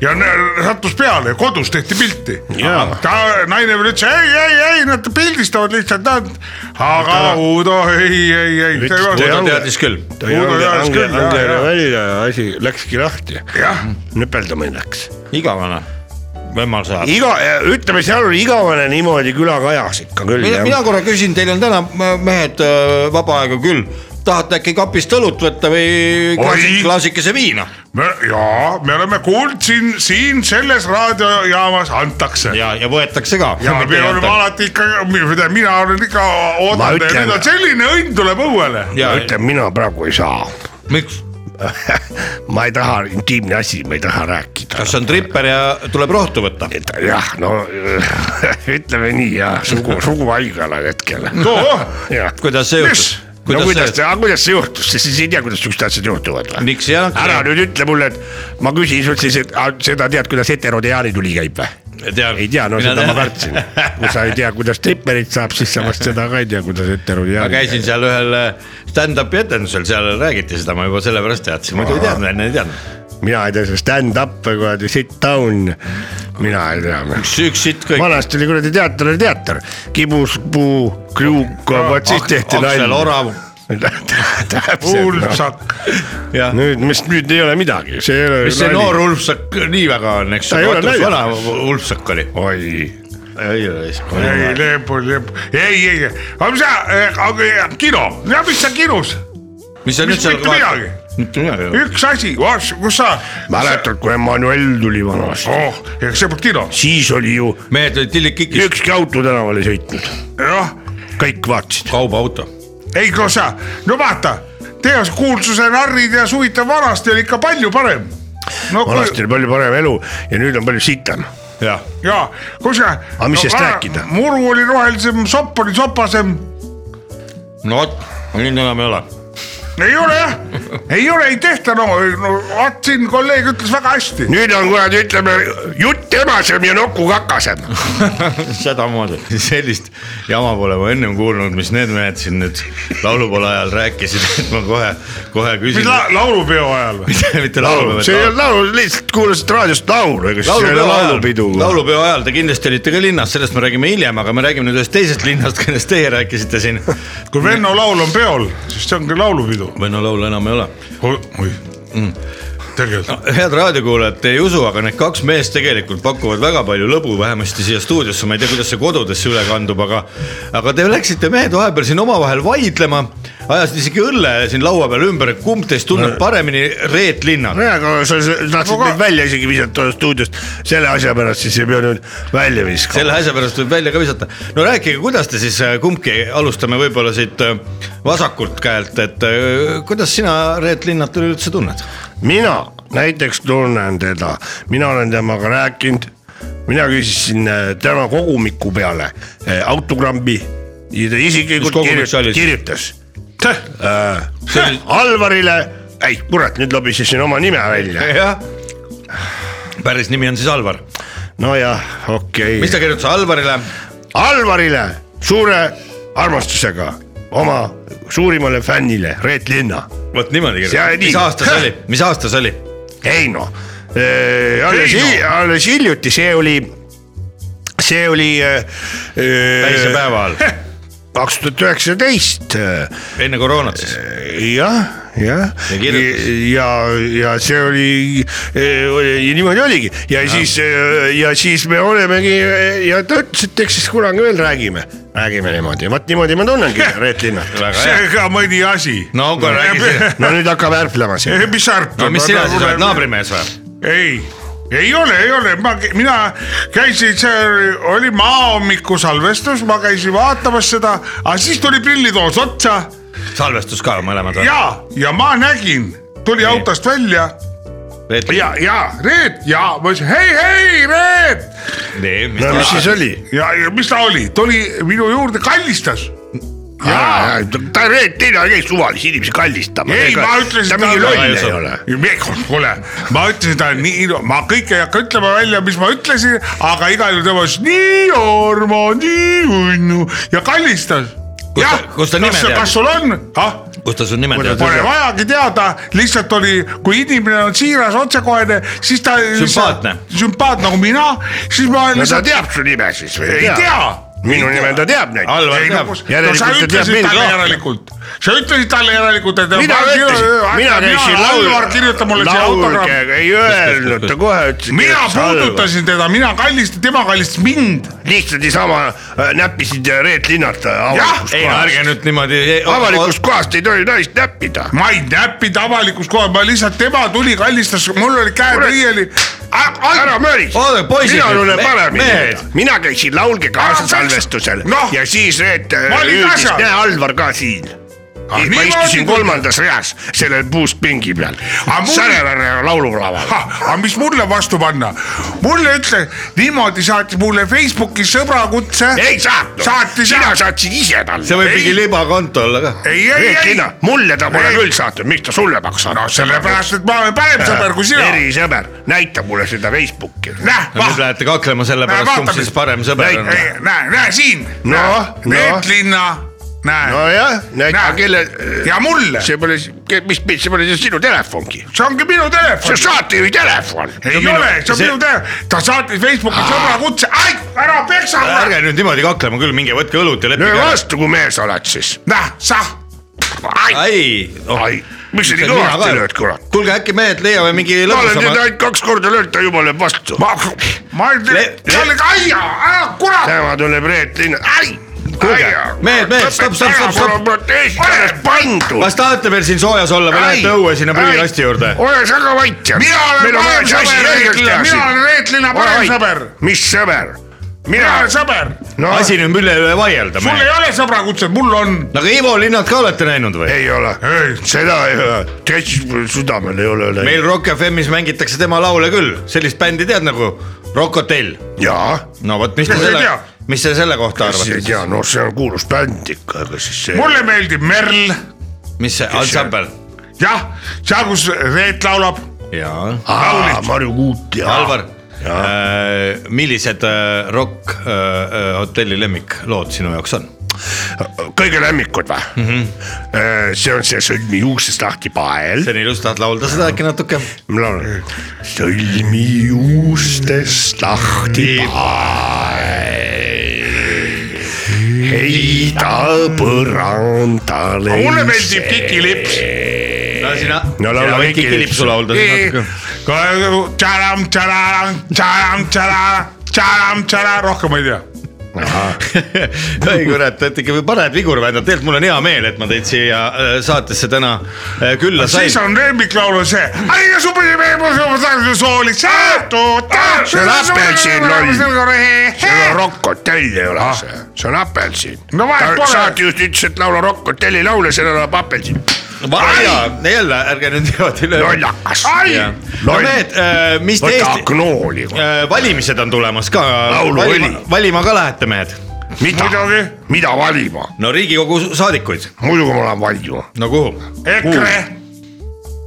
ja nä- sattus peale , kodus tehti pilti .
Jaa.
ta , naine veel ütles ei , ei , ei , nad pildistavad lihtsalt , nad . aga Uudo ei , ei , ei .
Ütles, et ei
ta
Ange.
teadis küll .
ta ei
Uudo
olnud
jalas
Ange-
küll, jaa,
Angele
jaa.
välja ja asi läkski lahti ,
jah ,
nüpeldamine läks .
igavene . võimalus ajab .
iga , ütleme , seal oli igavene niimoodi külakajas ikka küll
mina , mina
jah .
korra küsin , teil on täna m- mehed öö, vaba aega küll , tahate äkki kapist õlut võtta või klaasi-
Oi!
klaasikese viina ?
ja me oleme kuulnud siin , siin selles raadiojaamas antakse .
ja , ja võetakse ka .
ja me oleme alati ikka , mina olen ikka
Ma
oodanud , et
ütlen-
nüüd on selline õnn tuleb õuele .
ja ,
ütlen , mina praegu ei saa .
miks ,
ma ei taha , intiimne asi , ma ei taha rääkida .
kas see on tripper ja tuleb rohtu võtta ?
jah , no ütleme nii jah , sugu , suguhaige olen hetkel . jah
kuidas see juhtus
Mis? ?
no kuidas
see ,
see , kuidas see juhtus , sest siis ei tea , kuidas siuksed asjad juhtuvad või ?
miks ei anna ?
ära nüüd ütle mulle , et ma küsin sult siis , et a- seda tead , kuidas heterodeaani tuli käib või ?
tean
ei tea , no seda ma . kartsin . kui sa ei tea , kuidas tripperit saab , siis sa vast seda ka ei tea , kuidas
ma
heterodeaani .
käisin seal ühel äh, stand-up'i etendusel , seal räägiti seda , ma juba sellepärast teadsin , muidu ei teadnud , enne ei teadnud .
mina ei tea , see stand-up või kuradi sit down , mina ei tea .
üks , üks sitt kõik .
vanasti oli kuradi teater oli teater , kibus , puu , kriuk , vot siis tehti
Aksel
nalja .
Orav ,
täpselt ,
kuulsak ,
jah .
nüüd , mis nüüd ei ole midagi , see ei ole .
mis see noor Ulfsak nii väga on , eks
Ta ei
ju ,
ole naljakas.
vana Ulfsak oli .
oi ,
ei ole siis .
ei , Leopold , Leopold , ei , ei , aga mis sa , kino , ja mis sa kinos ,
mis sa
mis
nüüd seal
mitte midagi.
mitte midagi ei ole .
üks asi , kus sa ,
mäletad , kui Emmanuel tuli vanasti ,
oh , ega see polnud kino ,
siis oli ju
mehed olid tillikikis ,
ükski auto tänaval ei sõitnud ,
jah ,
kõik vaatasid .
kaubaauto .
ei no sa , no vaata , teie kuulsuse narrid ja suvitav vanasti oli ikka palju parem . no
vanasti oli palju parem elu ja nüüd on palju sitem .
jah .
ja , kus sa .
Aga mis sest rääkida?
muru oli rohelisem , sopp oli sopasem ,
no vot , nüüd enam ei ole .
ei ole jah , ei ole , ei tehta , no, no vaat siin kolleeg ütles väga hästi ,
nüüd on kuradi , ütleme jutt emasem ja nokku kakasem .
sedamoodi , sellist jama pole ma ennem kuulnud , mis need mehed siin nüüd laulupala ajal rääkisid , et ma kohe , kohe
mis
küsin .
la- laulupeo ajal või ?
mitte laulupeo ,
see ei olnud laul , lihtsalt kuulasid raadiost laulu , ega siis ei ole
laulupeo
laulupidu
ajal ,. laulupeo ajal te kindlasti olite ka linnas , sellest me räägime hiljem , aga me räägime nüüd ühest teisest linnast , kellest teie rääkisite siin .
kui Venno laul on peol , siis see ongi laulupidu .
Venno laulu enam ei ole
oi ,
Mm.
tegelikult ,
head raadiokuulajad , te ei usu , aga need kaks meest tegelikult pakuvad väga palju lõbu , vähemasti siia stuudiosse , ma ei tea , kuidas see kodudesse üle kandub , aga aga te läksite mehed vahepeal siin omavahel vaidlema , ajasid isegi õlle siin laua peal ümber , et kumb teist tunneb paremini Reet Linna .
nojah , aga sa sa tahtsid mind välja isegi visata stuudiost , selle asja pärast siis ei pea nüüd välja viskama .
selle asja pärast võib välja ka visata . no rääkige , kuidas te siis äh, kumbki , alustame võib-olla siit äh, vasakult käelt , et äh, kuidas sina Reet Linnat üleüldse tunned ?
mina näiteks tunnen teda , mina olen temaga rääkinud , mina küsisin äh, tema kogumiku peale äh, autogrammi ja ta isiklikult
Mis kogumik see oli
kirju-
siis?
kirjutas äh,
oli-
Alvarile , ei kurat , nüüd lobisesin oma nime välja .
jah . päris nimi on siis Alvar .
nojah , okei
mis
okay. ,
ta kirjutas Alvarile ?
Alvarile suure armastusega oma suurimale fännile Reet Linna ,
vot niimoodi
See-
kirjutas , mis
nii.
aasta see oli , mis aasta see oli ?
Heino . noh, alles
noh.
Heino. ,
alles hiljuti , see oli , see oli .
päisepäeva all ,
kaks tuhat üheksateist
enne koroonat siis .
jah , jah .
Ja kirjutas.
ja , ja see oli, eh, oli , niimoodi oligi ja, ja siis eh, ja siis me olemegi eh, ja ta ütles , et eks siis kunagi veel räägime , räägime niimoodi , vot niimoodi ma tunnengi Reet Linnat .
väga
see
hea .
on ka mõni asi .
no aga räägi siis .
no nüüd hakkab ärplema siin .
mis sa arvad ?
no mis sina siis oled , naabrimees või ?
ei , ei ole , ei ole , ma , mina käisin , see oli- oli maaommiku salvestus , ma käisin vaatamas seda , aga siis tuli prillitoos otsa
salvestus ka mõlemad või ?
ja , ja ma nägin , tuli
Nii.
autost välja ja , ja Reet ja ma ütlesin hei , hei Reet
no mis siis oli ?
ja , ja mis ta oli , tuli minu juurde , kallistas . jaa ,
ta , Reet , teine ei käi suvalisi inimesi kallistama .
ei , ma ütlesin
ta
talle-
mingi loll ei ole .
kuule , ma ütlesin talle nii ilu- , ma kõike ei hakka ütlema välja , mis ma ütlesin , aga igal juhul tema ütles nii armas , nii unnu ja kallistas .
Kus ta- kus ta nime
kas,
teadis?
kas sul on , ah ,
kus ta su nime
pole
teadis ?
vajagi teada , lihtsalt oli , kui inimene on siiras , otsekohene , siis ta .
Sümpaatne.
sümpaatne nagu mina , siis ma
no ta
lihtsalt
teab su nime siis või ?
ei tea
minu nime ta teab näiteks .
Alvar
ei no
teab.
kus , no
Järelikult
sa
ta teab
ütlesid
mind
talle
rohkem.
järelikult , sa ütlesid talle järelikult , et .
mina ütlesin , mina käisin laul- .
Alvar kirjuta mulle siia autogrammi .
ei öelnud , ta kohe ütles .
mina . puudutasin teda , mina kallistasin , tema kallistas mind .
lihtsalt niisama äh, näppisid Reet Linnart avalikust
ei no ärge nüüd niimoodi .
avalikust kohast ei tohi naist näppida .
ma ei näppinud avalikus kohas , ma lihtsalt , tema tuli , kallistas , mul olid käed
Kurat.
riieli .
ära möris
Oodake, poisid
mina
nüüd,
tunnen
me- mehed.
paremini . mina käisin laulge kaasa
Ära peksa.
salvestusel
Noh.
ja siis Reet äh,
Ma olin
hüüdis
asjal. ,
näe Alvar ka siin . ma
niimoodi
istusin
tuli.
kolmandas reas sellel puust pingi peal
Aga mul- ,
särelane laululaval .
aga mis mulle vastu panna , mulle ütle , niimoodi saatis mulle Facebookis sõbrakutse .
ei saatnud ,
saatis
sina
jah ,
saatsid ise talle .
see võib
Ei.
mingi libakonto olla ka .
ei , ei ,
Reet
ei
Linna , mulle ta pole
Ei.
küll saatnud , miks ta sulle peaks saatma ?
no sellepärast , et ma olen parem sõber kui sina .
erisõber , näita mulle seda Facebooki .
näh ,
no nüüd lähete kaklema selle pärast , kumb
vaatame.
siis parem sõber on .
näe , näe , näe siin .
Noh, noh.
Reet Linna , näe no, .
nojah , näita
Näe.
kelle ,
ja mulle ,
see pole , mis , see pole siis sinu telefongi ,
see ongi minu
see on
telefon .
saatejuhi telefon .
ei
minu-
ole , see Ah. on
see-
minu telefon , ta saatis Facebooki sõbrakutse , ära peksa .
ärge nüüd niimoodi kaklema küll , minge võtke õlut ja
löö
leppige ära .
vastu , kui mees oled siis .
näh , sah ,
ai ,
ai , miks sa nii kõvasti lööd , kurat ?
kuulge äkki mehed leiame mingi
ma olen teid
lõbusama .
ainult kaks korda löönud , ta juba lööb vastu .
ma , ma ei tea
Le- ,
see oli Kaia , ära kurat ,
tema tuleb Reet Linna , ai .
Kuulge, mehed, mehed, stopp, stopp, stopp, stopp.
mul on protest alles pandud .
kas tahate veel siin soojas olla või
Ai,
lähete õue sinna
ai.
prügikasti juurde ?
ole sa ka vait ja .
mina olen parem sõber Reet Linna , mina olen Reet Linna parem sõber ,
mis sõber ?
mina
mina
olen , sõber ,
no
asi nüüd üle üle vaielda .
mul ei
no
ole sõbrakutset , mul on .
aga Ivo Linnat ka olete näinud või ?
ei ole , seda ei ole , täitsa mul südamel ei ole läinud .
meil Rock FM-is mängitakse tema laule küll , sellist bändi tead nagu Rock Hotel .
jaa ,
no vot , mis te
Kas ei
selle
tea? ,
mis te selle kohta
kas ei
arvate ?
tea , no see on kuulus bänd ikka , aga siis see .
mulle meeldib Merl ,
mis see ansambel ?
jah , seal , kus Reet laulab ,
jaa .
aa , Marju Kuut ja .
Alvar , millised äh, Rock äh, äh, Hotelli lemmiklood sinu jaoks on ?
kõige lemmikud või mm ? -hmm. see on see sõlmi juuksest lahti pael .
see on ilus , tahad laulda seda äkki natuke ?
ma laulan . sõlmi juustest lahti pael , heida põrandale .
mulle meeldib Kiki Lips .
sina ,
No laula
sina võid
Kiki
Kiki
Lipsu.
Lipsu laulda siis natuke .
tšaram , tšaram , tšaram , tšaram , tšaram , tšaram , rohkem ma ei tea .
ei kurat , et ikka paned vigur välja , tegelikult mul on hea meel , et ma teid siia äh, saatesse täna äh, külla sain
siis . on lemmiklaul on see .
see on apelsin , loll . see on Rock Hotell ei ole ah. see , see on apelsin
No vahet pole.
saate just ütles , et laula Rock Hotelli laule , seal elab apelsin .
jaa , jälle ärge nüüd niimoodi lööge .
lollakas .
no mehed , mis te
võta
Eesti ,
knooli ,
valimised on tulemas ka .
Lauluvõli.
valima ka lähete mehed ?
mida , mida valima ,
no Riigikogu saadikuid ,
muidugi ma lähen valima . Äh,
no kuhu ?
EKRE ,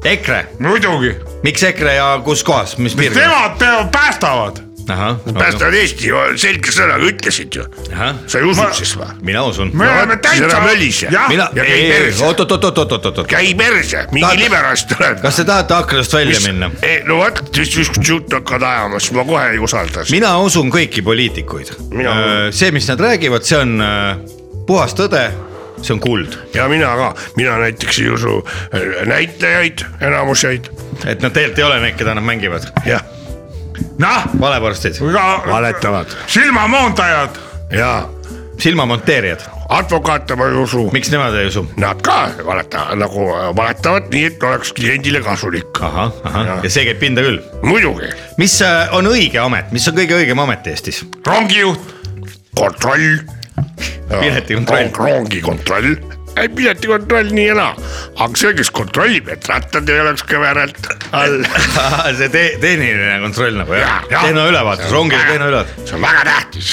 EKRE ,
muidugi ,
miks EKRE ja kus kohas , mis piirkonnas ?
nemad peavad , päästavad .
päästad Eesti , selge sõnaga ütlesid ju , sa ei usu siis või ?
mina usun .
me
No
oleme
vot, siis ära
täitsa
mölise. .
jah ,
mina ,
ja käi perse.
oot-oot-oot-oot-oot-oot ,
käi perse , mingi
Tahad-
liberast tuleb .
kas te tahate aknast välja minna ?
ei Eh, no vot , siis niisugust juttu hakkad ajama , siis ma kohe ei usalda sind .
mina usun kõiki poliitikuid Äh,
Mina- .
see , mis nad räägivad , see on äh, puhas tõde , see on kuld ,
ja mina ka , mina näiteks ei usu äh, näitlejaid , enamuseid ,
et nad tegelikult ei ole need , keda nad mängivad ,
jah ,
noh ,
valevorstid ,
aga
valetavad
silmamoondajad ,
ja
silmamonteerijad ,
advokaate ma ei usu .
miks nemad ei usu ?
Nad ka valetavad , nagu äh, valetavad nii , et oleks kliendile kasulik ,
ahah , ahah , ja see käib pinda küll .
muidugi
mis äh, on õige amet , mis on kõige õigem amet Eestis ?
rongijuht ,
kontroll .
Piletikontroll.
rongi kontroll ,
ei piletikontroll nii ja naa , aga söögis kontrollib , et rattad ei oleks kõveralt all .
see te- , tehniline kontroll nagu jah
Jah, , jah.
tehnoülevaatus , rongide tehnoülevaatus .
see on väga tähtis .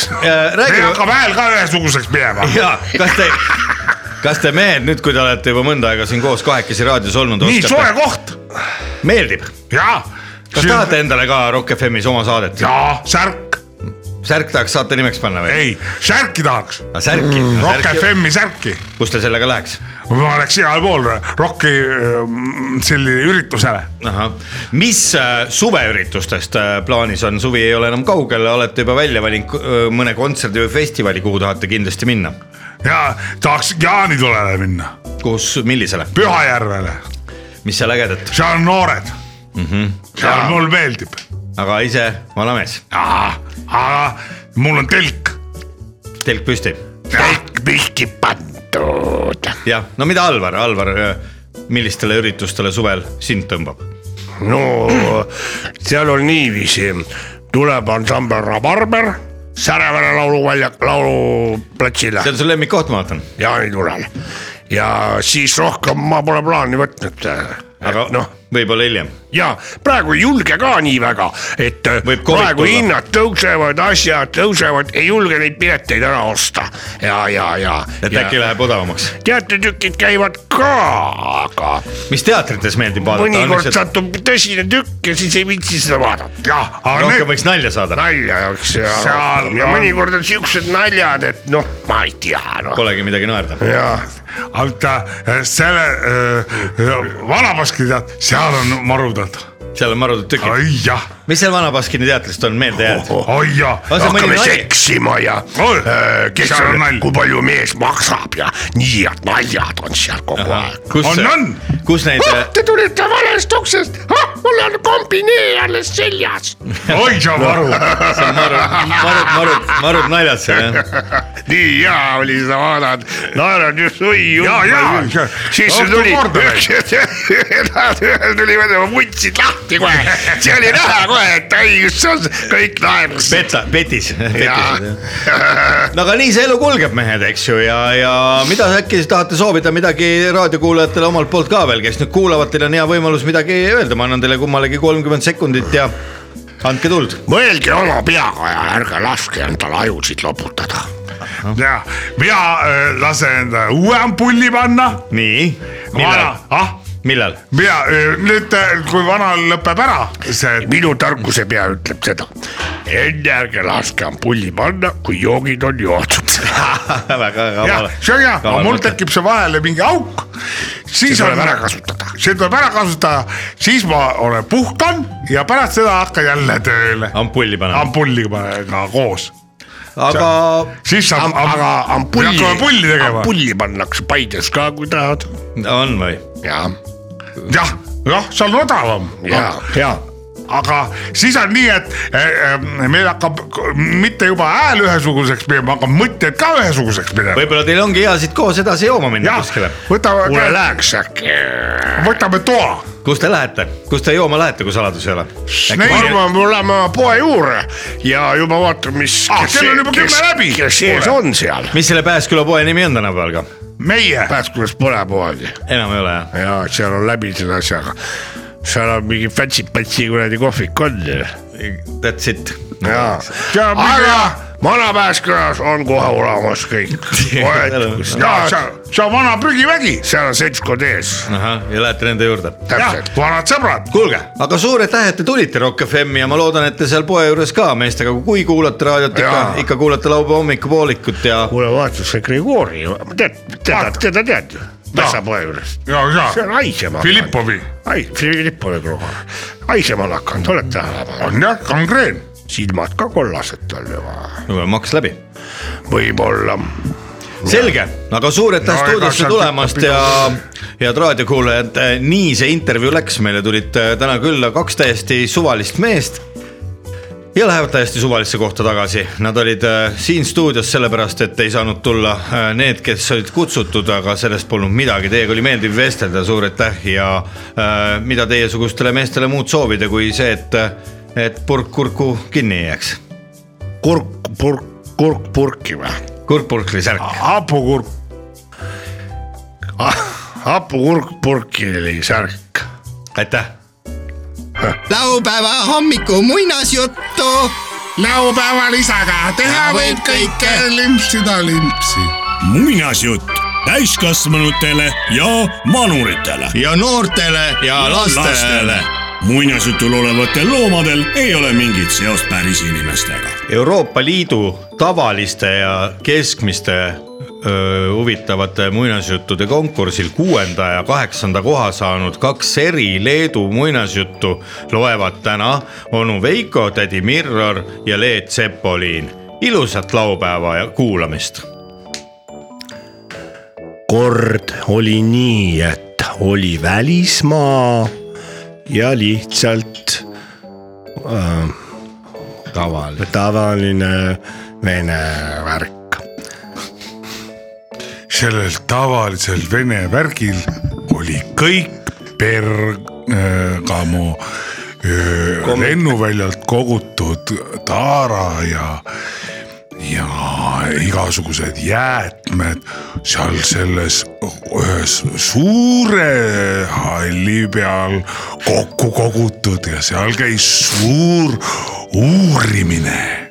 räägi-
meil hakkab hääl ka ühesuguseks minema .
ja kas te , kas te mehed nüüd , kui te olete juba mõnda aega siin koos kahekesi raadios olnud ,
nii soe
oskate ,
koht
meeldib ?
ja .
kas tahate ? endale ka Rock FM-is oma saadet ?
jaa , särk ,
särk tahaks saate nimeks panna või ?
ei , särki tahaks .
särki
Rock
särki ,
FM-i särki ,
kus te sellega läheks ?
ma oleks igal pool Rocki mm, selline üritusele .
ahah , mis äh, suveüritustest äh, plaanis on , suvi ei ole enam kaugel , olete juba välja valinud k- öö, mõne kontserdi või festivali , kuhu tahate kindlasti minna ?
ja tahaks jaanitulele minna ,
kus , millisele ,
Pühajärvele ,
mis seal ägedat ,
seal on noored mm . -hmm. seal mul meeldib ,
aga ise vanamees ,
aga mul on telk ,
telk püsti .
telk pihti pandud .
jah , no mida Alvar , Alvar , millistele üritustele suvel sind tõmbab ?
no seal on niiviisi , tuleb ansambel Rabarber Särevere lauluväljak , lauluplatsile
see on su lemmikkoht , ma vaatan .
jaanitulel ja siis rohkem ma pole plaani võtnud .
aga noh
noh ,
võib-olla hiljem .
ja praegu ei julge ka nii väga , et äh,
Võib COVID
praegu
tulla.
hinnad tõusevad , asjad tõusevad , ei julge neid pileteid ära osta ja , ja , ja .
et ja. äkki läheb odavamaks .
teatritükid käivad ka , aga
mis teatrites meeldib
mõnikord
vaadata ?
satub tõsine tükk ja siis ei viitsi seda vaadata .
jah , aga
rohkem
need ,
võiks nalja saada ,
nalja oleks ja
Seal ,
ja
on-
mõnikord on siuksed naljad , et noh , ma ei tea noh .
polegi midagi naerda .
ja
oota eh, selle äh, Vanabaski tead , seal on marudad ,
seal on marudad tükid .
oi jah ,
mis seal Vana-Baskini teatrist on meelde jäänud ?
oi jah .
On see mõni
hakkame
nali?
seksima ja
Oi,
öö, kes
seal on
on
nalja. ,
kui palju mees maksab ja nii head naljad on seal kogu
Ah,
aeg .
kus
On, on. ,
kus neid , äh,
Te tulite valest uksest ah, , mul on kombinee alles seljas .
oi see on maru ,
marud , marud , marud naljad seal jah ?
nii hea oli seda vaadata , naerad just , oi
Jaa, jaa.
siis see
Õhtu
tuli
korda ,
ühel tuli vedama , vuntsid lahti kohe , see oli näha kohe , et ai , kus see on , kõik naersid .
Peta , petis , petised jah . no aga nii see elu kulgeb , mehed , eks ju , ja , ja mida äkki tahate soovida midagi raadiokuulajatele omalt poolt ka veel , kes nüüd kuulavad , teil on hea võimalus midagi öelda , ma annan teile kummalegi kolmkümmend sekundit ja andke tuld .
mõelge oma peaga ja ärge laske endale ajusid loputada .
ja mina äh, lasen endale uue ampulli panna ,
nii ,
vana
millal ,,
ah
millal ?
mina öö, nüüd , kui vanal lõpeb ära see ,
minu tarkuse pea ütleb seda , enne ärge laske ampulli panna , kui joogid on joodud .
väga
jah
kaval ,.
see on hea , aga mul . tekib see vahele mingi auk , siis
tuleb
on
ära kasutada.
see tuleb ära kasutada , siis ma olen puhkan ja pärast seda hakkan jälle tööle ,
ampulli paneme ,
ampulliga koos ,
aga
siis saab .
aga ampulli
hakkame , pulli tegema ,
ampulli pannakse Paides ka , kui tahad .
on või ?
jaa ,
jah , jah , see on odavam ,
jaa , jaa
aga siis on nii , et eh, eh, meil hakkab k- mitte juba hääl ühesuguseks minema , aga mõtted ka ühesuguseks minema .
võib-olla teil ongi hea siit koos edasi jooma minna
jah
kuskile .,
kuule
võtame ,
läheks äkki .
võtame toa
kus te lähete , kus te jooma lähete , kui saladus ei ole ?
Neid-
ma arvan , me oleme poe juurde ja juba vaatan , mis .
Ah, teil on juba kümme läbi.
kes ees
Kuule.
on seal ,
mis selle Pääsküla poe nimi on tänapäeval ka ?
meie ,
Pääskulas pole poodi
enam ei ole jah ?
ja seal on läbi selle asjaga . seal on mingi fancy-pantsi kuradi kohvik on
That's it .
ja ,
Ja
aga
minge-
Vana-Pääskülas on kohe olemas kõik
jaa , see , see on vana prügivägi ,
seal on seltskond ees ,
ahah , ja lähete nende juurde .
jah
täpselt ,.
vanad sõbrad ,
kuulge , aga suur aitäh , et te tulite Rock FM-i ja ma loodan , et te seal poe juures ka meestega , kui kuulate raadiot , ikka
Jaa. ,
ikka kuulate laupäeva hommikupoolikut ja
kuule vaata see Grigori , tead , teda , teda tead ju , metsapoe juures ,
ja , ja
see on haisema .
Filippovi
ai , Filippovi Grigor , haisema on hakanud , oled tähele pannud ,
on jah kangreen ,
silmad ka kollased tal juba ,
kuule, maks läbi .
võib-olla .
selge , aga suur aitäh
No ega
stuudiosse
seal
tulemast
pikka
ja head raadiokuulajad , nii see intervjuu läks , meile tulid äh, täna külla kaks täiesti suvalist meest ja lähevad täiesti suvalisse kohta tagasi , nad olid äh, siin stuudios sellepärast , et ei saanud tulla äh, need , kes olid kutsutud , aga sellest polnud midagi , teiega oli meeldiv vestelda , suur aitäh ja äh, mida teiesugustele meestele muud soovida , kui see , et , et purk kurku kinni ei jääks .
kurk , purk , kurk purki või ?
kurk purkli särk ,
hapukurk ,
hapukurk purkili särk .
aitäh .
laupäeva hommiku muinasjuttu .
laupäeva lisaga teha
Ja
võib
võib
kõike
kõike. ,
limpsida limpsi .
muinasjutt täiskasvanutele ja vanuritele .
ja noortele ja lastele .
muinasjutul olevatel loomadel ei ole mingit seost päris inimestega .
Euroopa Liidu tavaliste ja keskmiste öö, huvitavate muinasjuttude konkursil kuuenda ja kaheksanda koha saanud kaks eri Leedu muinasjuttu loevad täna onu Veiko , tädi Mirror ja Leet Sepoliin . ilusat laupäeva ja kuulamist .
kord oli nii , et oli välismaa ja lihtsalt
kaval .
tavaline vene värk .
sellel tavalisel vene värgil oli kõik Bergamo öö, lennuväljalt kogutud taara ja , ja igasugused jäätmed seal selles ühes suure halli peal kokku kogutud ja seal käis suur uurimine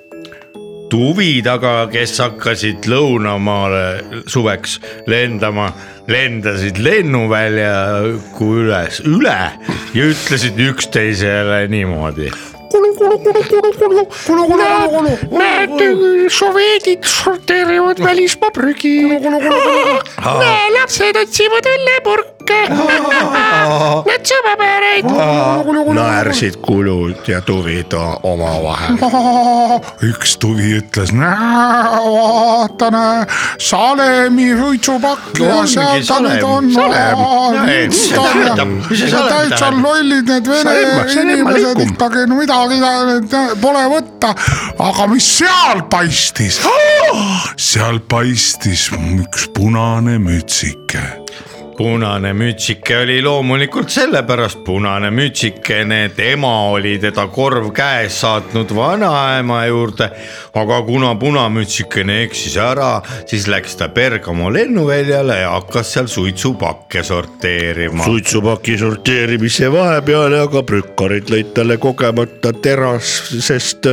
tuvid aga , kes hakkasid lõunamaale suveks lendama , lendasid lennuväljaku üles , üle ja ütlesid üksteisele niimoodi .
näete , soveedid sorteerivad välismaa prügi . näe , lapsed otsivad õllepurke . Nad sõbapäreid .
naersid kulud ja tuvid o- omavahel .
üks tuvi ütles , näe , vaata näe , salemi suitsupakk ja
Ongi
seal ta
salem.
nüüd on .
Salem. Näed, mis see tähendab? Mis see salem
täitsa
tähendab?
lollid need vene
Salem, salem,
inimesed
alaikum.
ikkagi no midagi ta- pole võtta . aga mis seal paistis ? seal paistis üks punane mütsike
punane mütsike oli loomulikult sellepärast punane mütsikene , et ema oli teda korv käes saatnud vanaema juurde . aga kuna punamütsikene eksis ära , siis läks ta Bergamo lennuväljale ja hakkas seal suitsupakke sorteerima
suitsupaki sorteerimise vahepeale aga prükkarid lõid talle kogemata terasest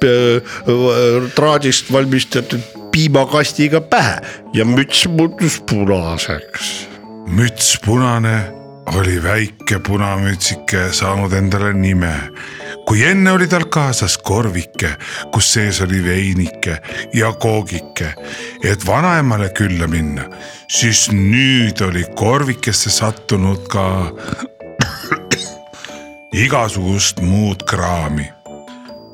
pe- v- traadist valmistatud piimakastiga pähe ja müts muutus punaseks .
müts punane oli väike punamütsike saanud endale nime . kui enne oli tal kaasas korvike , kus sees oli veinike ja koogike , et vanaemale külla minna , siis nüüd oli korvikesse sattunud ka igasugust muud kraami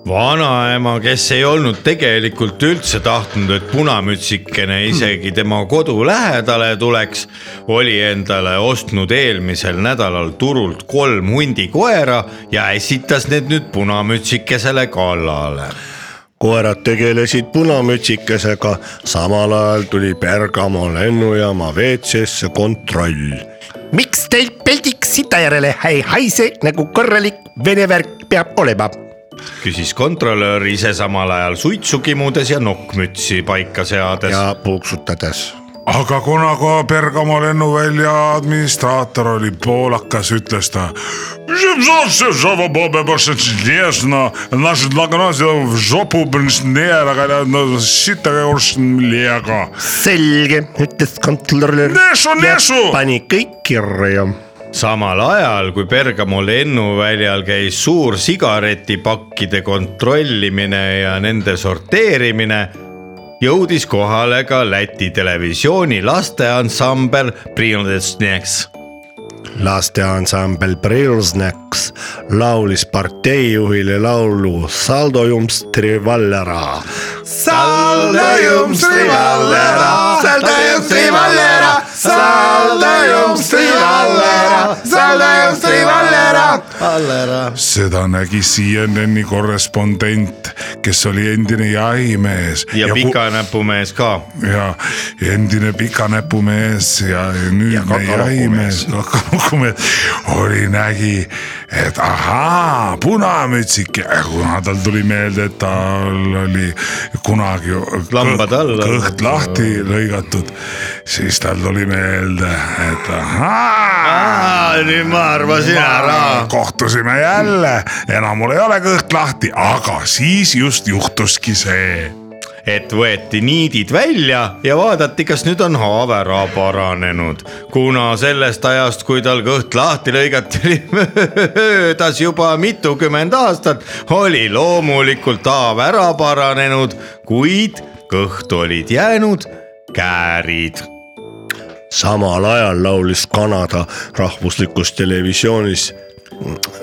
vanaema , kes ei olnud tegelikult üldse tahtnud , et punamütsikene isegi tema kodu lähedale tuleks , oli endale ostnud eelmisel nädalal turult kolm hundikoera ja esitas need nüüd punamütsikesele kallale .
koerad tegelesid punamütsikesega , samal ajal tuli Bergamo lennujaama WC-sse kontroll .
miks teil peldik sita järele ei haise nagu korralik vene värk peab olema ?
küsis kontrolör ise samal ajal suitsu kimudes ja nokkmütsi paika seades .
ja puuksutades .
aga kuna ka Bergamo lennuvälja administraator oli poolakas , ütles ta .
selge , ütles kontrolör .
Nesu, nesu!
pani kõik kirja .
samal ajal kui Bergamo lennuväljal käis suur sigaretipakkide kontrollimine ja nende sorteerimine , jõudis kohale ka Läti televisiooni lasteansambel Prilnitsneks .
lasteansambel Prilsneks laulis parteijuhile laulu Saldojums Trivallera .
seda nägi CNN-i korrespondent , kes oli endine jahimees .
ja, ja pikanäpumees ka .
ja endine pikanäpumees ja
Ja
nüüdne
kakarokumees.
jahimees , kakarokumees oli , nägi , et ahaa , punamütsike , kuna tal tuli meelde , et tal oli kunagi kõht-
Lambad alla.
kõht lahti lõigatud , siis tal tuli meelde , et ahaa .
nüüd ma arvasin ära .
kohtusime jälle , enam mul ei ole kõht lahti , aga siis just juhtuski see .
et võeti niidid välja ja vaadati , kas nüüd on haav ära paranenud . kuna sellest ajast , kui tal kõht lahti lõigati , oli möödas juba mitukümmend aastat , oli loomulikult haav ära paranenud , kuid kõhtu olid jäänud käärid .
samal ajal laulis Kanada rahvuslikus televisioonis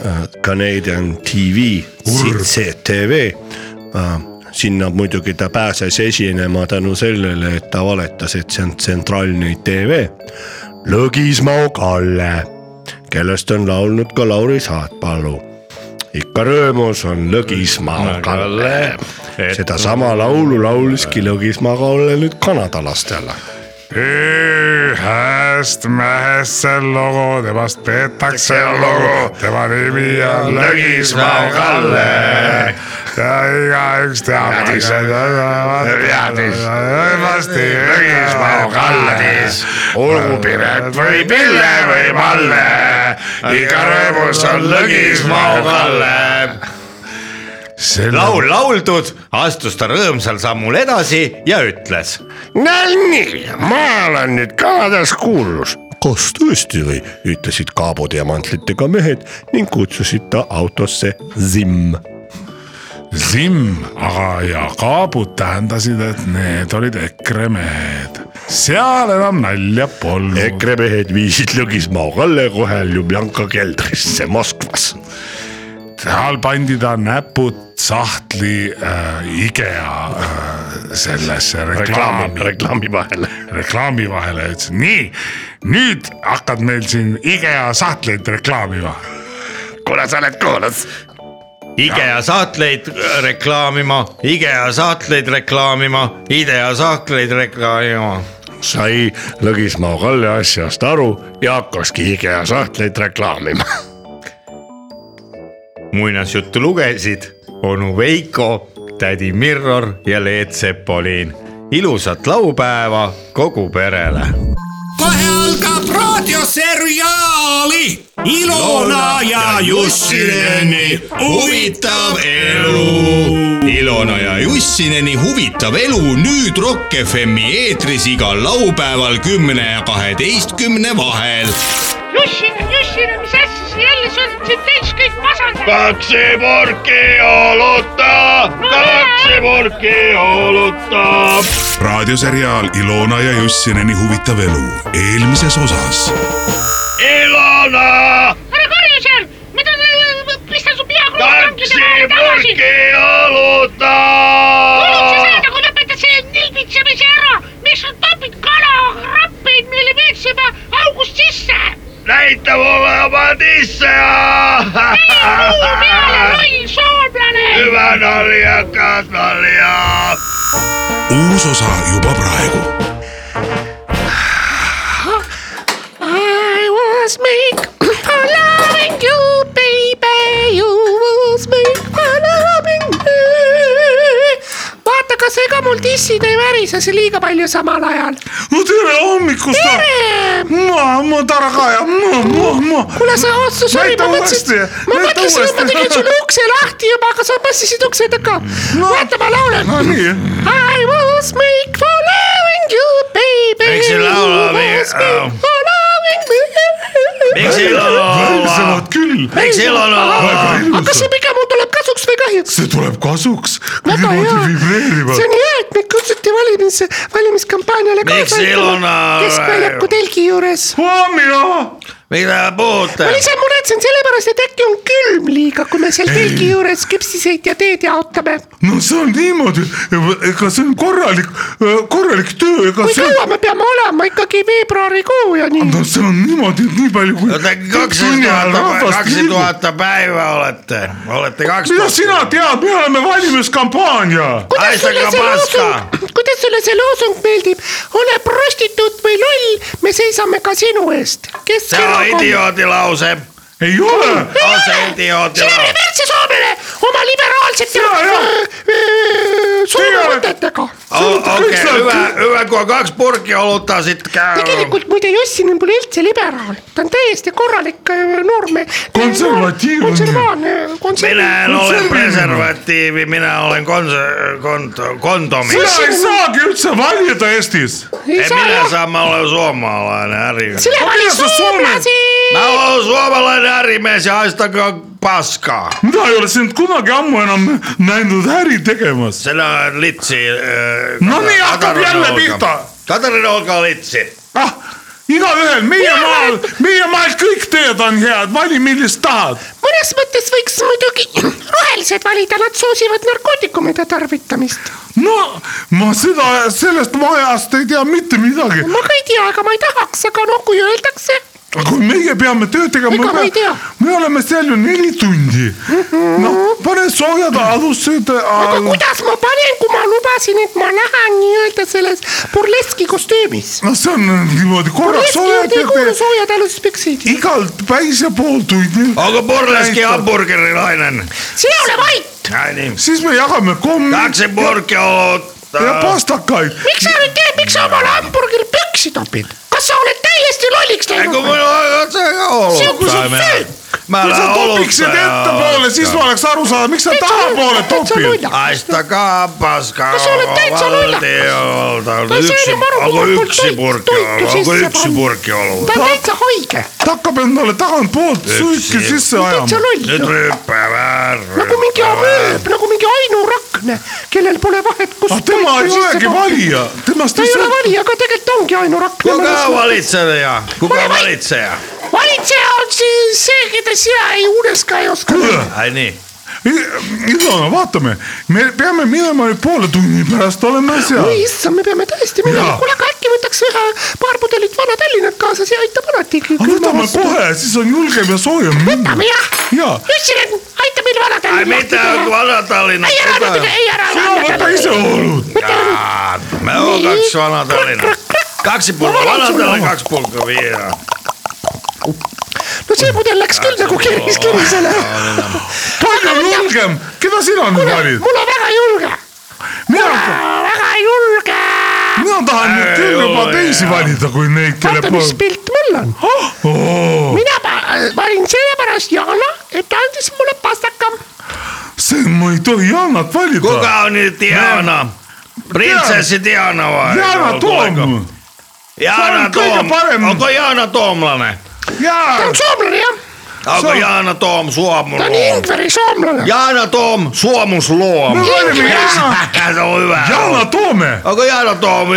äh, Canadian TV , CTV . Äh, sinna muidugi ta pääses esinema tänu sellele , et ta valetas , et see on tsentraalne TV . Lõgismaa Kalle , kellest on laulnud ka Lauri Saatpalu . ikka rõõmus on Lõgismaa Kalle . sedasama laulu lauliski Lõgismaa Kalle nüüd Kanada lastele
ühest mehest see lugu , temast peetakse lugu , tema nimi on Lõgismaa Kalle . ja igaüks teab , mis see teadis , temasti Lõgismaa Kalle . olgu Piret või Pille või Malle , iga rõõmus on Lõgismaa Kalle . see
laul lauldud , astus ta rõõmsal sammul edasi ja ütles
Nonii , ma olen nüüd Kanadas kuulus . kas tõesti või , ütlesid kaabudiamantlitega mehed ning kutsusid ta autosse Zim .
Simm , aga ja kaabud tähendasid , et need olid EKRE mehed . seal enam nalja polnud .
EKRE mehed viisid Lõgismaa Kalle kohe Ljubljanka keldrisse Moskvas .
seal pandi ta näpud sahtli äh, IKEA äh, sellesse
reklaami ,
reklaami ,
reklaami vahele .
reklaami vahele ja ütles nii , nüüd hakkad meil siin IKEA sahtleid reklaamima .
kuule , sa oled kuulus .
IKEA saatleid reklaamima , IKEA saatleid reklaamima , IDEA saatleid reklaamima .
sai Lõgismaa Kalle asjast aru ja hakkaski IKEA sahtleid reklaamima .
muinasjuttu lugesid onu Veiko , tädi Mirror ja Leet Sepolin . ilusat laupäeva kogu perele .
kohe algab raadioseriaali Ilona ja Jussineni huvitav elu . Ilona ja Jussineni huvitav elu nüüd Rock FM-i eetris igal laupäeval kümne ja kaheteistkümne vahel
Jussin , Jussin , mis asja sa jälle , sa oled siin täis kõik masendanud .
raadioseriaal Ilona ja Jussineni huvitav elu eelmises osas
ära karju seal , mida , pista su pea krokodillide vahele tagasi . kuulid sa seda , kui lõpetad selle nilbitsemise ära , miks sa topid kalakrappeid meile veetsema august sisse ? näita mulle oma tisse . ei , muu peale , loll soomlane .
uus osa juba praegu .
I was made for loving you, baby. You was made for loving me . vaata , kas ega mul tissid ei värise siin liiga palju samal ajal . Eh,
no tere hommikust . ma , ma Tara Kaja , ma , ma , ma .
kuule , sa otsus oli ,
Näita
ma
uuesti,
mõtlesin , ma
näita
mõtlesin , et ma
uuesti.
tegin sulle ukse lahti juba , aga sa passisid ukse taga no. . vaata , ma laulan
no
no. .
nii ,
I was made for loving you, baby .
Miks see laul
You
oli-
was made for loving me .
miks Ilona ,
välisemad küll .
miks Ilona ,
aga kas see pigem mul tuleb kasuks või kahjuks ?
see tuleb kasuks .
Väga hea.
vibreerima
see . on hea , et meid kutsuti valimis , valimiskampaaniale
Miks
kaasa aitama
Ilona-
keskväljaku telgi juures .
mina .
mida te puhute
ma ? ise muretsen sellepärast , et äkki on külm liiga , kui me seal telgi juures küpsiseid ja teed jaotame .
no see on niimoodi , ega see on korralik , korralik töö , ega
kui
see
kaua me peame olema ikkagi veebruarikuu ja nii .
no see on niimoodi , et nii palju kui .
Te kaksteist tuhat , kaksteist . tuhat päeva olete , olete kaks
mida sina tead , me oleme valimiskampaania .
kuidas
Aisega
sulle see
paska!
loosung , kuidas sulle see loosung meeldib ? ole prostituut või loll , me seisame ka sinu eest .
see on
Keskerakond .
idioodi lause ,
ei ole .
on see idioot
sina
ja
reversi Soomele oma äh, liberaalsete
Sina, jah. Sina oled-
suumõtetega .
okei , ühe , ühe koma kaks purki olutasid .
tegelikult muide Jussin pole üldse liberaal , ta on täiesti korralik äh, noormees .
Konservatiivne.
konservaan ,
mina
konservatiivne .
en ole
Konservatiivne.
preservatiivi , mina olen kons- , kont- , kondomi .
sina ei saagi üldse valida Eestis .
ei niinku saa
mina
jah ,
saan , ma olen suomalainen ärimees .
sina valid
sa Soome-
soomlasi .
Mä oon suomalainen äärimies ja haistakaa paskaa.
mina ei ole sind kunagi ammu enam näinud äri tegemas .
Se on litsi. Äh,
No niin, hakkab jälle pihta.
Katarina, olkaa litsi.
ah , igaühel , meie maal , meie maal kõik teed on head , vali millist tahad .
mõnes mõttes võiks muidugi rohelised valida , nad soosivad narkootikumide tarvitamist .
no ma seda , sellest majast ei tea mitte midagi .
ma ka ei tea , aga ma ei tahaks , aga noh , kui öeldakse ,
aga kui meie peame tööd tegema
Ega ma ei tea. ,
me oleme seal ju neli tundi . noh , pane soojad alused
aga
alla .
kuidas ma panen , kui ma lubasin , et ma lähen nii-öelda selles burleski kostüümis .
no see on niimoodi
burleski
korraks
juurde
soojad
ei
ja
kuulu
teed
soojad aluspüksid .
igalt päise pool tundi ,
Onko burleski hamburgerilainen?
sina ole vait ,
Ai niin.
siis me jagame kommi
Kaksi purkki olutta.
ja pastakaid .
miks sa nüüd teed , miks sa omale hamburgeri püksid topid , kas sa oled täiesti lolliks
Ei kun
läinud ?
mulla on otsaga
See on, kun se
olutta.
on
Mä-
fake.
Mä
kui sa
olen
topiksid ettepoole , siis ma oleks aru saanud , miks sa tahapoole topid .
Haistakaa paskaa.
No se oli täysin
valtiolta.
No se
Yksi,
oli varmaan
onko
kun
yksi
toi-
purkki
toi
ollut?
sisään
Onko yksi
pannu.
purkki ollut?
ta on täitsa haige ,
ta hakkab endale tagantpoolt suiki sisse
täitsa
ajama .
loll
Nyt . ryyppää vähän.
nagu mingi amööb , nagu mingi ainurakne , kellel pole vahet , kus
ah , tema ei olegi . valija , temast
ta ei ole
lihtsalt
valija , aga tegelikult ta ongi
Kuka
ainurakne .
valitsee ja? Kuka
Vai- vai-
valitsee ja?
valitseja on siis see , keda sina ei unes ka ei oska .
Ai niin.
I- Ilona , vaatame , me peame minema nüüd poole tunni pärast oleme seal
oi . issand , me peame tõesti minema
Jaa. ,
kuule aga äkki võtaks ühe paar pudelit Vana-Tallinnat kaasa , see aitab alati .
võtame kohe , siis on julgem ja soojem minna .
võtame jah .
Jaa.
Jüssinen , aita meil
Ai
Vana-Tallinna .
mitä vanatallina?
ei ära natuke , ei ära .
sina võta ise olud .
Mä oon
Niin.
kaksi vanatallina. Kaksi pulkkaa vanatallina, kaksi pulkkaa vielä.
no see pudel läks küll nagu keris kerisele .
palju julgem , keda sina nüüd valid ?
mul on väga julge ,
mina ,
väga julge .
mina tahan nüüd küll juba teisi valida , kui neid , kelle Ah! Oh!
vaata , mis pilt mul on .
pool .
mina pa- valin sellepärast Yana , et ta andis mulle pastaka .
see , ma ei tohi Jaanat valida .
Kuka on nyt Diana? Prinsessi Diana vai?
Jaana
Onko-
Toom , Se
Jaana
on kaiken
Toom.
paremmin.
Onko Jaana Toomlanen?
ta
jaa
on , soomlane jah ,
Onko
Se on-
Jaana
ta
Toom
on
suomuluom?
Ingveri soomlane .
Jaana Toom suomusluom.
me
No,
valime Jaana ,
Se on hyvä.
Jaana Toome .
Onko Jaana Toom?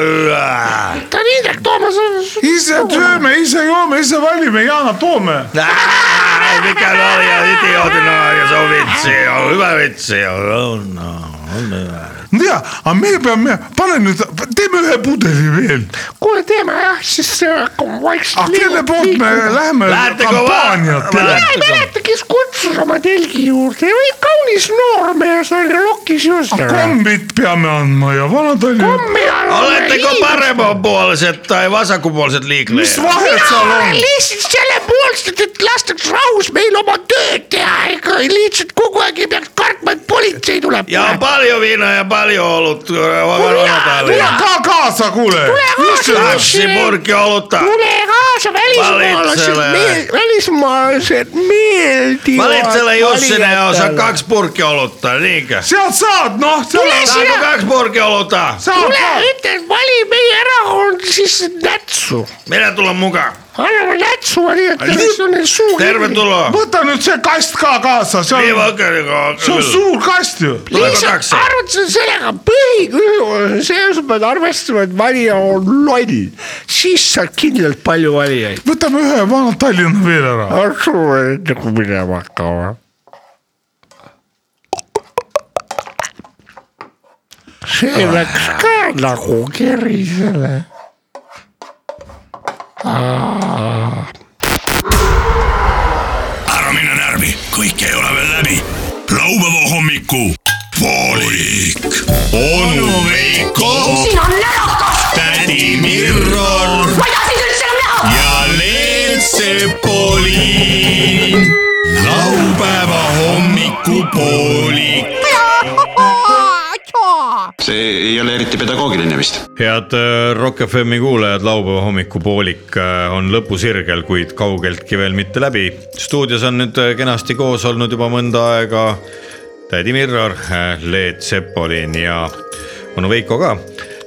Äh,
ta on Indrek Toomas .
ise sööme , ise joome , ise valime Jaana Toome .
Äh, mikä nalja idiootina ja se on vitsi, on hyvä vitsi. On, no. on hyvä.
tea , aga me peame , pane nüüd , teeme ühe pudeli veel .
kuule , teeme jah , siis äh, hakkame
aga
vaikselt .
kelle poolt Ah, me läheme
Lähetega
kampaaniat
va-
tegema ?
mina ei mäleta , kes kutsus oma telgi juurde , oli kaunis noormees oli lokis
Ah,
just .
kombid peame andma ja Vana-Tallinn .
Oletteko paremmanpuoliset tai vasenpuoliset
mis
liikleet?
vahet seal on ?
lihtsalt selle poolt , et lastaks rahus meil oma tööd teha , ega lihtsalt kogu aeg ei peaks kartma , et politsei tuleb .
Ja on paljon viinaa ja paljon ollut.
tule ka kaasa , kuule .
Kaksi purkki olutta.
tule kaasa , välismaalased
Valitsele. ,
välismaalased meeldivad .
Valitsele Jussinen ja osa kaksi purkki olutta, niinkö?
sealt saad , noh ,
Tule
seal
Saanko
sinä-
kaksi purkki olutta?
saad
tule
ka .
ütle , vali meie erakond siis nätsu ,
Minä tulen mukaan.
anname nätsu , vali , et see on suur .
Tervetuloa.
võta nüüd see kast ka kaasa , see
Niin
on ,
vaikka
see on suur kast ju .
Tuleeko
lihtsalt
taksi?
arvutuse sellega põhiküsimus on see , et pead arvestama , et valija on loll , siis saad kindlalt palju valijaid .
võtame ühe Vana-Tallinna veel ära .
on suur enne kui minema hakkama . see läks ka nagu kerisele .
ära mine närvi , kõik ei ole veel läbi . laupäeva hommiku poolik . onu Veiko ,
siin on närakas ,
tädi Mirror
ma ei taha sind üldse enam näha .
ja Leelt Sepolin . laupäeva hommikupooli .
see ei ole eriti pedagoogiline vist .
head äh, Rock FM-i kuulajad , laupäeva hommikupoolik äh, on lõpusirgel , kuid kaugeltki veel mitte läbi . stuudios on nüüd äh, kenasti koos olnud juba mõnda aega tädi Mirror , Leet Sepolin ja onu Veiko ka .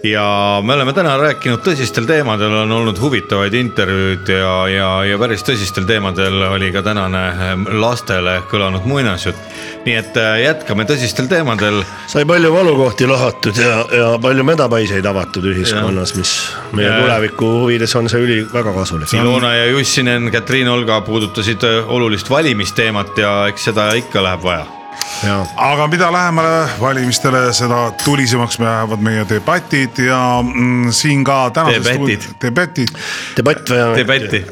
ja me oleme täna rääkinud tõsistel teemadel , on olnud huvitavaid intervjuud ja , ja , ja päris tõsistel teemadel oli ka tänane äh, lastele kõlanud muinasjutt . nii et äh, jätkame tõsistel teemadel
sai palju valukohti lahatud ja , ja palju mädapaiseid avatud ühiskonnas , mis meie
Ja.
tuleviku huvides on see üli väga kasulik .
Ilona ja Jussinen , Katriin Olga puudutasid ö, olulist valimisteemat ja eks seda ikka läheb vaja .
ja
aga mida lähemale valimistele , seda tulisemaks lähevad meie debatid ja mm, siin ka tänases
Debatid.
stuud- debatid ,
debatt või ?
debatti ,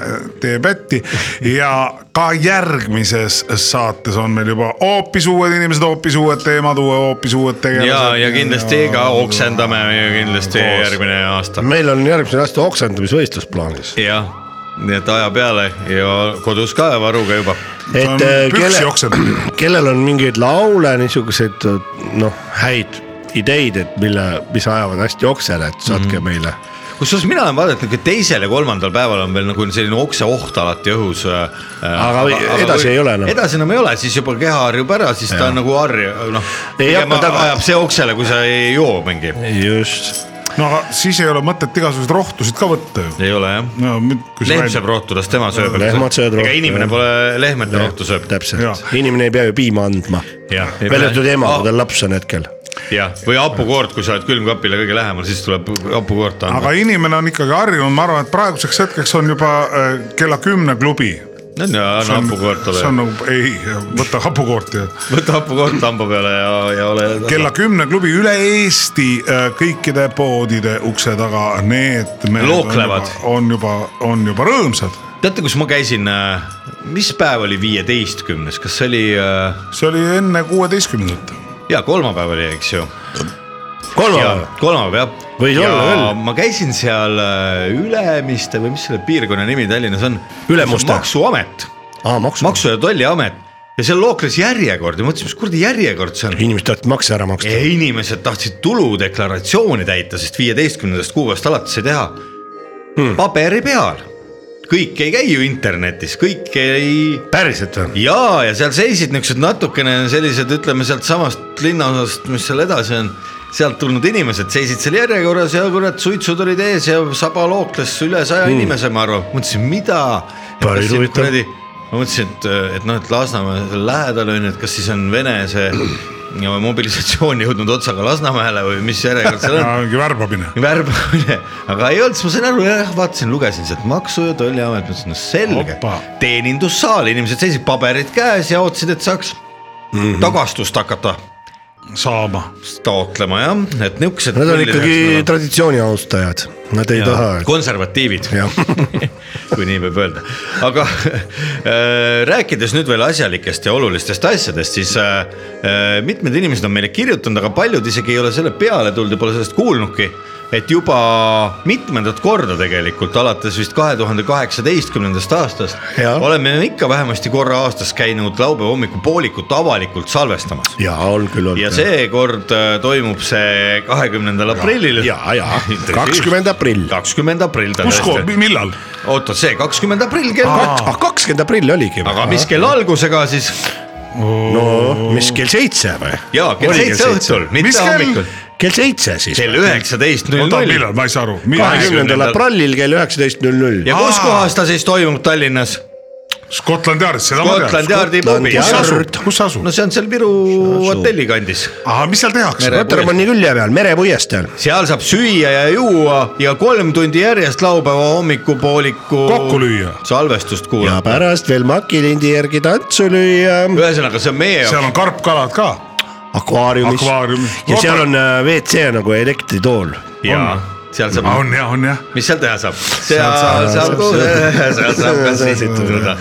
debatti ja ka järgmises saates on meil juba hoopis uued inimesed , hoopis uued teemad , hoopis uued tegelased .
ja , ja kindlasti ka . oksendame ja kindlasti
Koos.
järgmine aasta .
meil on järgmisel aastal oksendamisvõistlus plaanis .
jah , nii et aja peale ja kodus ka varuga juba .
et
See on
äh,
püksi
kelle
oksendamine. ,
kellel on mingeid laule , niisuguseid noh , häid ideid , et mille , mis ajavad hästi oksele , et saatke mm. meile .
kusjuures mina olen vaadanud , et teisel ja kolmandal päeval on veel nagu selline okseoht alati õhus . aga
või- edasi
või-
ei ole enam.
edasi enam ei ole , siis juba keha harjub ära , siis ta on nagu harju , noh .
Ei hakka taga-
ajab see oksele , kui sa ei joo mingi .
just ,
no aga siis ei ole mõtet igasuguseid rohtusid ka võtta ju .
ei ole jah
no nüüd , kui sa
lehm saab . rohtu , las tema sööb .
Lehmad söövad rohtu,
ega inimene
jah.
pole lehmete rohtu sööb .
Jaa.
täpselt , inimene ei pea ju piima andma .
Jah.
välja arvatud ema , kui
Ah.
tal laps on hetkel .
jah , või hapukoort , kui sa oled külmkapile kõige lähemal , siis tuleb hapukoort anda
aga . inimene on ikkagi harjunud , ma arvan , et praeguseks hetkeks on juba äh, kella kümne klubi .
no nii , anna hapukoort
see
talle .
on nagu , ei , võta hapukoorti ja
võta hapukoort hamba peale ja , ja ole .
kella kümne klubi üle Eesti äh, kõikide poodide ukse taga , need mehed
Looklevad.
on juba , on juba rõõmsad .
teate , kus ma käisin , mis päev oli viieteistkümnes , kas see oli ,
see oli enne kuueteistkümnendat .
jaa , kolmapäev oli , eks ju .
kolmapäev ,
kolmapäev jah .
Võis olla küll.
ma käisin seal äh, Ülemiste või mis selle piirkonna nimi Tallinnas on ?
Ülemuste.
maksuamet
aa maksu, maksu. ,
maksu- ja tolliamet ja seal lookles järjekord ja mõtlesime , mis kuradi järjekord see on .
inimesed tahtsid makse ära maksta .
inimesed tahtsid tuludeklaratsiooni täita , sest viieteistkümnendast kuupäevast alates ei teha hmm. . paberi peal , kõik ei käi ju internetis , kõik ei
päriselt või ?
ja , ja seal seisid niisugused natukene sellised , ütleme sealtsamast linnaosast , mis seal edasi on , sealt tulnud inimesed seisid seal järjekorras ja kurat , suitsud olid ees ja saba lookles üle saja mm. inimese , ma arvan , mõtlesin , mida .
Hmm. Päris huvitav.
ma mõtlesin , et , et noh , et Lasnamäe seal lähedal on ju , et kas siis on Vene see ja mobilisatsioon jõudnud otsaga Lasnamäele või mis järjekord seal on
mingi värbamine .
värbamine , aga ei olnud , siis ma sain aru , jah , vaatasin , lugesin sealt Maksu- ja Tolliamet , mõtlesin , no selge
Opa. ,
teenindussaal , inimesed seisid paberid käes ja ootasid , et saaks mm
Mhm.
-hmm. tagastust hakata
saama .
taotlema jah , et niisugused .
Nad on ikkagi traditsiooni austajad , nad ei ja. taha .
konservatiivid ,
jah ,
kui nii võib öelda , aga äh, rääkides nüüd veel asjalikest ja olulistest asjadest , siis äh, äh, mitmed inimesed on meile kirjutanud , aga paljud isegi ei ole selle peale tulnud ja pole sellest kuulnudki . et juba mitmendat korda tegelikult alates vist kahe tuhande kaheksateistkümnendast aastast
Jaa.
oleme me ikka vähemasti korra aastas käinud laupäeva hommikupoolikut avalikult salvestamas
ja on küll olnud .
ja seekord äh, toimub see kahekümnendal aprillil .
ja , ja kakskümmend aprill .
kakskümmend aprill .
kus kohas , millal ?
oota , see kakskümmend aprill kell kaks ,
Ah, kakskümmend aprill oligi .
aga mis kell algusega siis ?
no mis kell seitse või ?
jaa , kell seitse õhtul , mitte
Mis kell?
hommikul .
kell seitse siis .
kell üheksateist null
oota ,
null .
millal , ma ei saa aru .
kahekümnendal aprillil kell üheksateist null null .
ja kus kohas ta siis toimub Tallinnas ?
Scotland Yardis , seda ma tean
Scotland . Yardi pubi .
kus asub , kus asub
no ? see on seal Viru hotelli kandis .
ahah , mis seal tehakse ?
Mere-
Rotermanni külje peal , merepuiesteel .
seal saab süüa ja juua ja kolm tundi järjest laupäeva hommikupooliku
Kokku lüüa.
salvestust
ja
kuulata .
pärast veel makilindi järgi tantsu lüüa
ühesõnaga , see on meie jaoks
seal on karpkalad ka .
akvaariumis .
Akvaariumis.
ja seal on äh, WC nagu elektritool .
ja seal saab
Ah, on jah , on jah .
mis seal teha saab ? seal saab , seal saab ka sisitada .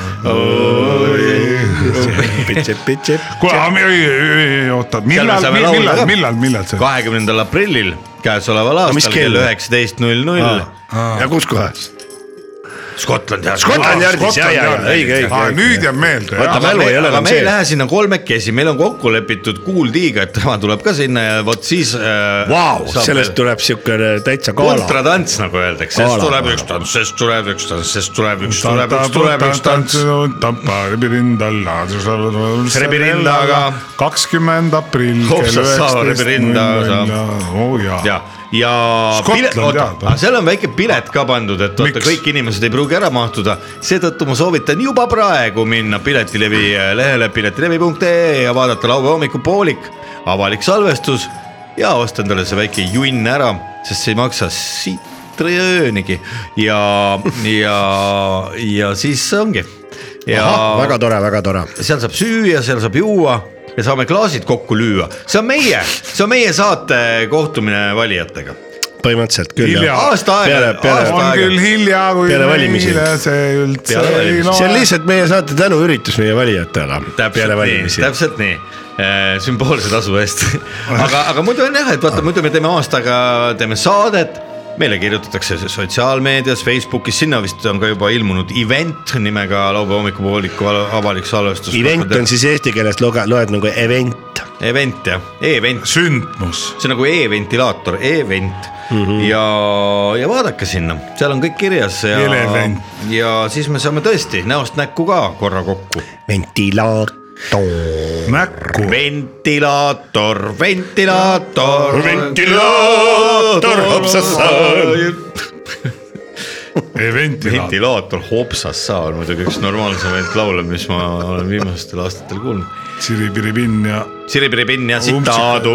kuule , ei , ei , ei , oota , millal ,
saame laulda ka. ,
millal millal , millal see ?
kahekümnendal aprillil käesoleval
mis
aastal
kell?
kell üheksateist null null
ja kus kohas ?
Scotland Yard .
Scotland Yardis , ja , ja , õige ,
aa , Ah, nüüd
õige .
jääb meelde .
Vaata, mälu ei ole
aga
enam
me ei
sees.
lähe sinna kolmekesi , meil on kokku lepitud Kuuldiiga , et tema tuleb ka sinna ja vot siis äh,
Vau ,
saab-
sellest tuleb siukene täitsa gala .
kontratants nagu öeldakse , sest
Gala.
tuleb üks tants , sest tuleb üks tants , sest tuleb üks , tuleb üks , tuleb üks tants .
tants .
Rebi rindaga. .
kakskümmend aprill .
Hopsast saava rebi rindaga saab.
oo jaa .
ja , ja
Scotland
pilet , oota
Yard, , jah.
aga seal on väike pilet ka pandud , et vaata
Miks? ,
kõik inimesed ei pruugi ära mahtuda , seetõttu ma soovitan juba praegu minna Piletilevi äh, lehele piletilevi.ee ja vaadata laupäeva hommikupoolik , avalik salvestus ja osta endale see väike junn ära , sest see ei maksa sitröönigi ja , ja , ja siis ongi .
väga tore , väga tore .
seal saab süüa , seal saab juua ja saame klaasid kokku lüüa , see on meie , see on meie saate kohtumine valijatega .
põhimõtteliselt küll .
Hilja.
aasta aega
Peale- , peale-
aasta
on küll
aega .
hilja , kui
Peale valimisi.
meile see üldse
Peale
ei
valimisi.
loe .
see on lihtsalt meie saate tänuüritus meie valijatele . peale
täpselt nii ,
valimisi .
täpselt nii , sümboolse tasu eest . aga , aga muidu on jah , et vaata , muidu me teeme aastaga , teeme saadet meile kirjutatakse sotsiaalmeedias , Facebookis , sinna vist on ka juba ilmunud event nimega laupäeva hommikupooliku al- avalik salvestus .
Event on siis eesti keeles loge- , loed nagu event .
event jah , event .
sündmus . Mhm.
see on nagu e-ventilaator , e-vent mm -hmm. ja , ja vaadake sinna , seal on kõik kirjas ja
Elevent. ,
ja siis me saame tõesti näost näkku ka korra kokku .
ventilaator .
näkku .
ventilaator , ventilaator .
ventilaator hopsas saal .
Eventila .
ventilaator Hopsas saa on muidugi üks normaalsemaid laule , mis ma olen viimastel aastatel kuulnud .
Siripiripinn ja
Siripiripinn ja
Umbsik-
sitaadu .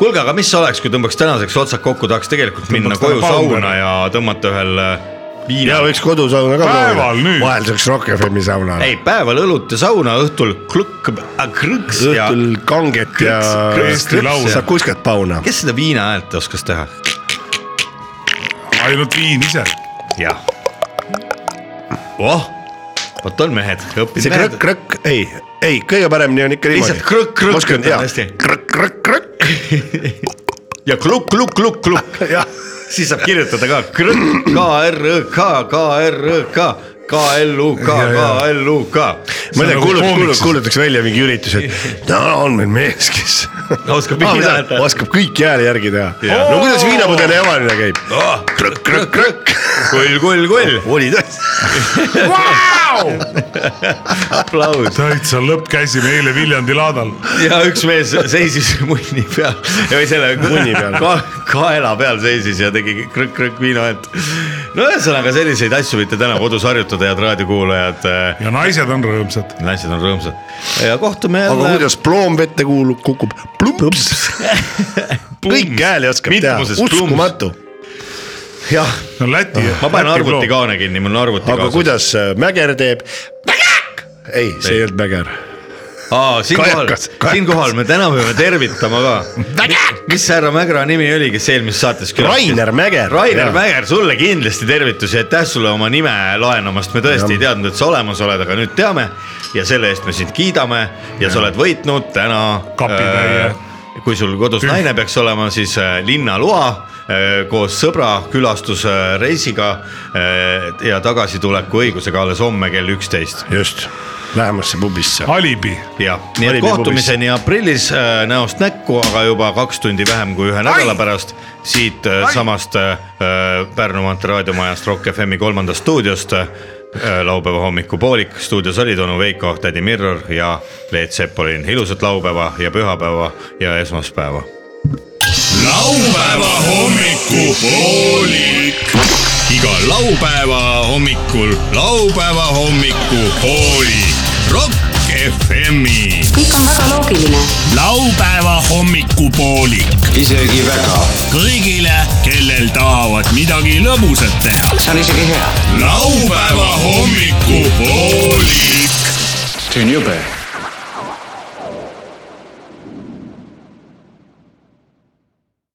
kuulge , aga mis oleks , kui tõmbaks tänaseks otsad kokku , tahaks tegelikult minna
Tõmbaks
koju
täna Paulari.
sauna ja tõmmata ühel äh, viina
ja võiks kodusauna ka
Päeval nüüd.
vahel saaks Rock FM-i sauna .
ei , päeval õlut ja sauna , õhtul klõkk , krõks ja
õhtul kanget ja
krõks, krõks ja-
saab kuskilt pauna .
kes seda viina häält oskas teha ?
ainult viin ise .
jah . oh , vot on mehed , õppinud
see krõkk ,
mehed .
krõkk , ei , ei , kõige paremini on ikka niimoodi .
Lihtsalt krõkk, krõkk
oskan
ütleme
jah ,
hästi.
krõkk , krõkk , krõkk ,
ja klukk , klukk , klukk , klukk ,
jah .
siis saab kirjutada ka krõkk , K R Õ K , K R Õ K , K L U K , K L U K .
ma ei tea ,
nagu
kuulut- ,
koomiks.
kuulut- , kuulutaks välja mingi üritus , et täna on meil mees , kes
oskab viina häält teha.
oskab kõiki hääli järgi teha . no kuidas viinapudeli avamine käib ? krõkk , krõkk , krõkk .
kull , kull , kull ,
oli tõesti .
aplaus .
täitsa lõpp käisime eile Viljandi laadal .
ja üks mees seisis munni peal või selle
Munni peal.
ka, kaela peal seisis ja tegi krõkk-krõkk viinahäält . no ühesõnaga selliseid asju võite täna kodus harjutada , head raadiokuulajad .
ja naised on rõõmsad .
naised on rõõmsad ja kohtume
aga
jälle .
kuidas ploom vette kuulub , kukub plumps . kõiki hääli oskab teha ,
Mitmuses plumps.
uskumatu . jah ,
no Läti .
ma panen arvuti . kaane kinni , mul on arvuti
aga
kaasas .
kuidas äh, Mäger teeb ? ei , see ei olnud Mäger
aa , siinkohal
Kajakas, kajakas. ,
siinkohal me täna peame tervitama ka . mis härra Mägra nimi oli , kes eelmises saates külastas ?
Rainer Mäger .
Rainer . Mäger , sulle kindlasti tervitusi , aitäh sulle oma nime laenamast , me tõesti ja. ei teadnud , et sa olemas oled , aga nüüd teame ja selle eest me sind kiidame ja, ja. sa oled võitnud täna .
Kapitäie.
kui sul kodus Tüh. naine peaks olema , siis äh, linnaloa äh, koos sõbra külastusreisiga äh, ja tagasituleku õigusega alles homme kell üksteist
just , lähemasse pubisse .
Alibi .
ja nii et
Alibi pubis.
kohtumiseni aprillis äh, näost näkku , aga juba kaks tundi vähem kui ühe nädala pärast siit äh, samast äh, Pärnu maantee raadiomajast Rock FM-i kolmandast stuudiost äh, . laupäeva hommikupoolik , stuudios olid onu Veiko , tädi Mirror ja Leet Sepolin , ilusat laupäeva ja pühapäeva ja esmaspäeva
laupäeva hommikupoolik . iga laupäeva hommikul laupäeva hommikupoolik . Rock FM-i .
kõik on väga loogiline .
laupäeva hommikupoolik .
isegi väga .
kõigile , kellel tahavad midagi lõbusat teha .
see on isegi hea .
laupäeva hommikupoolik .
see on jube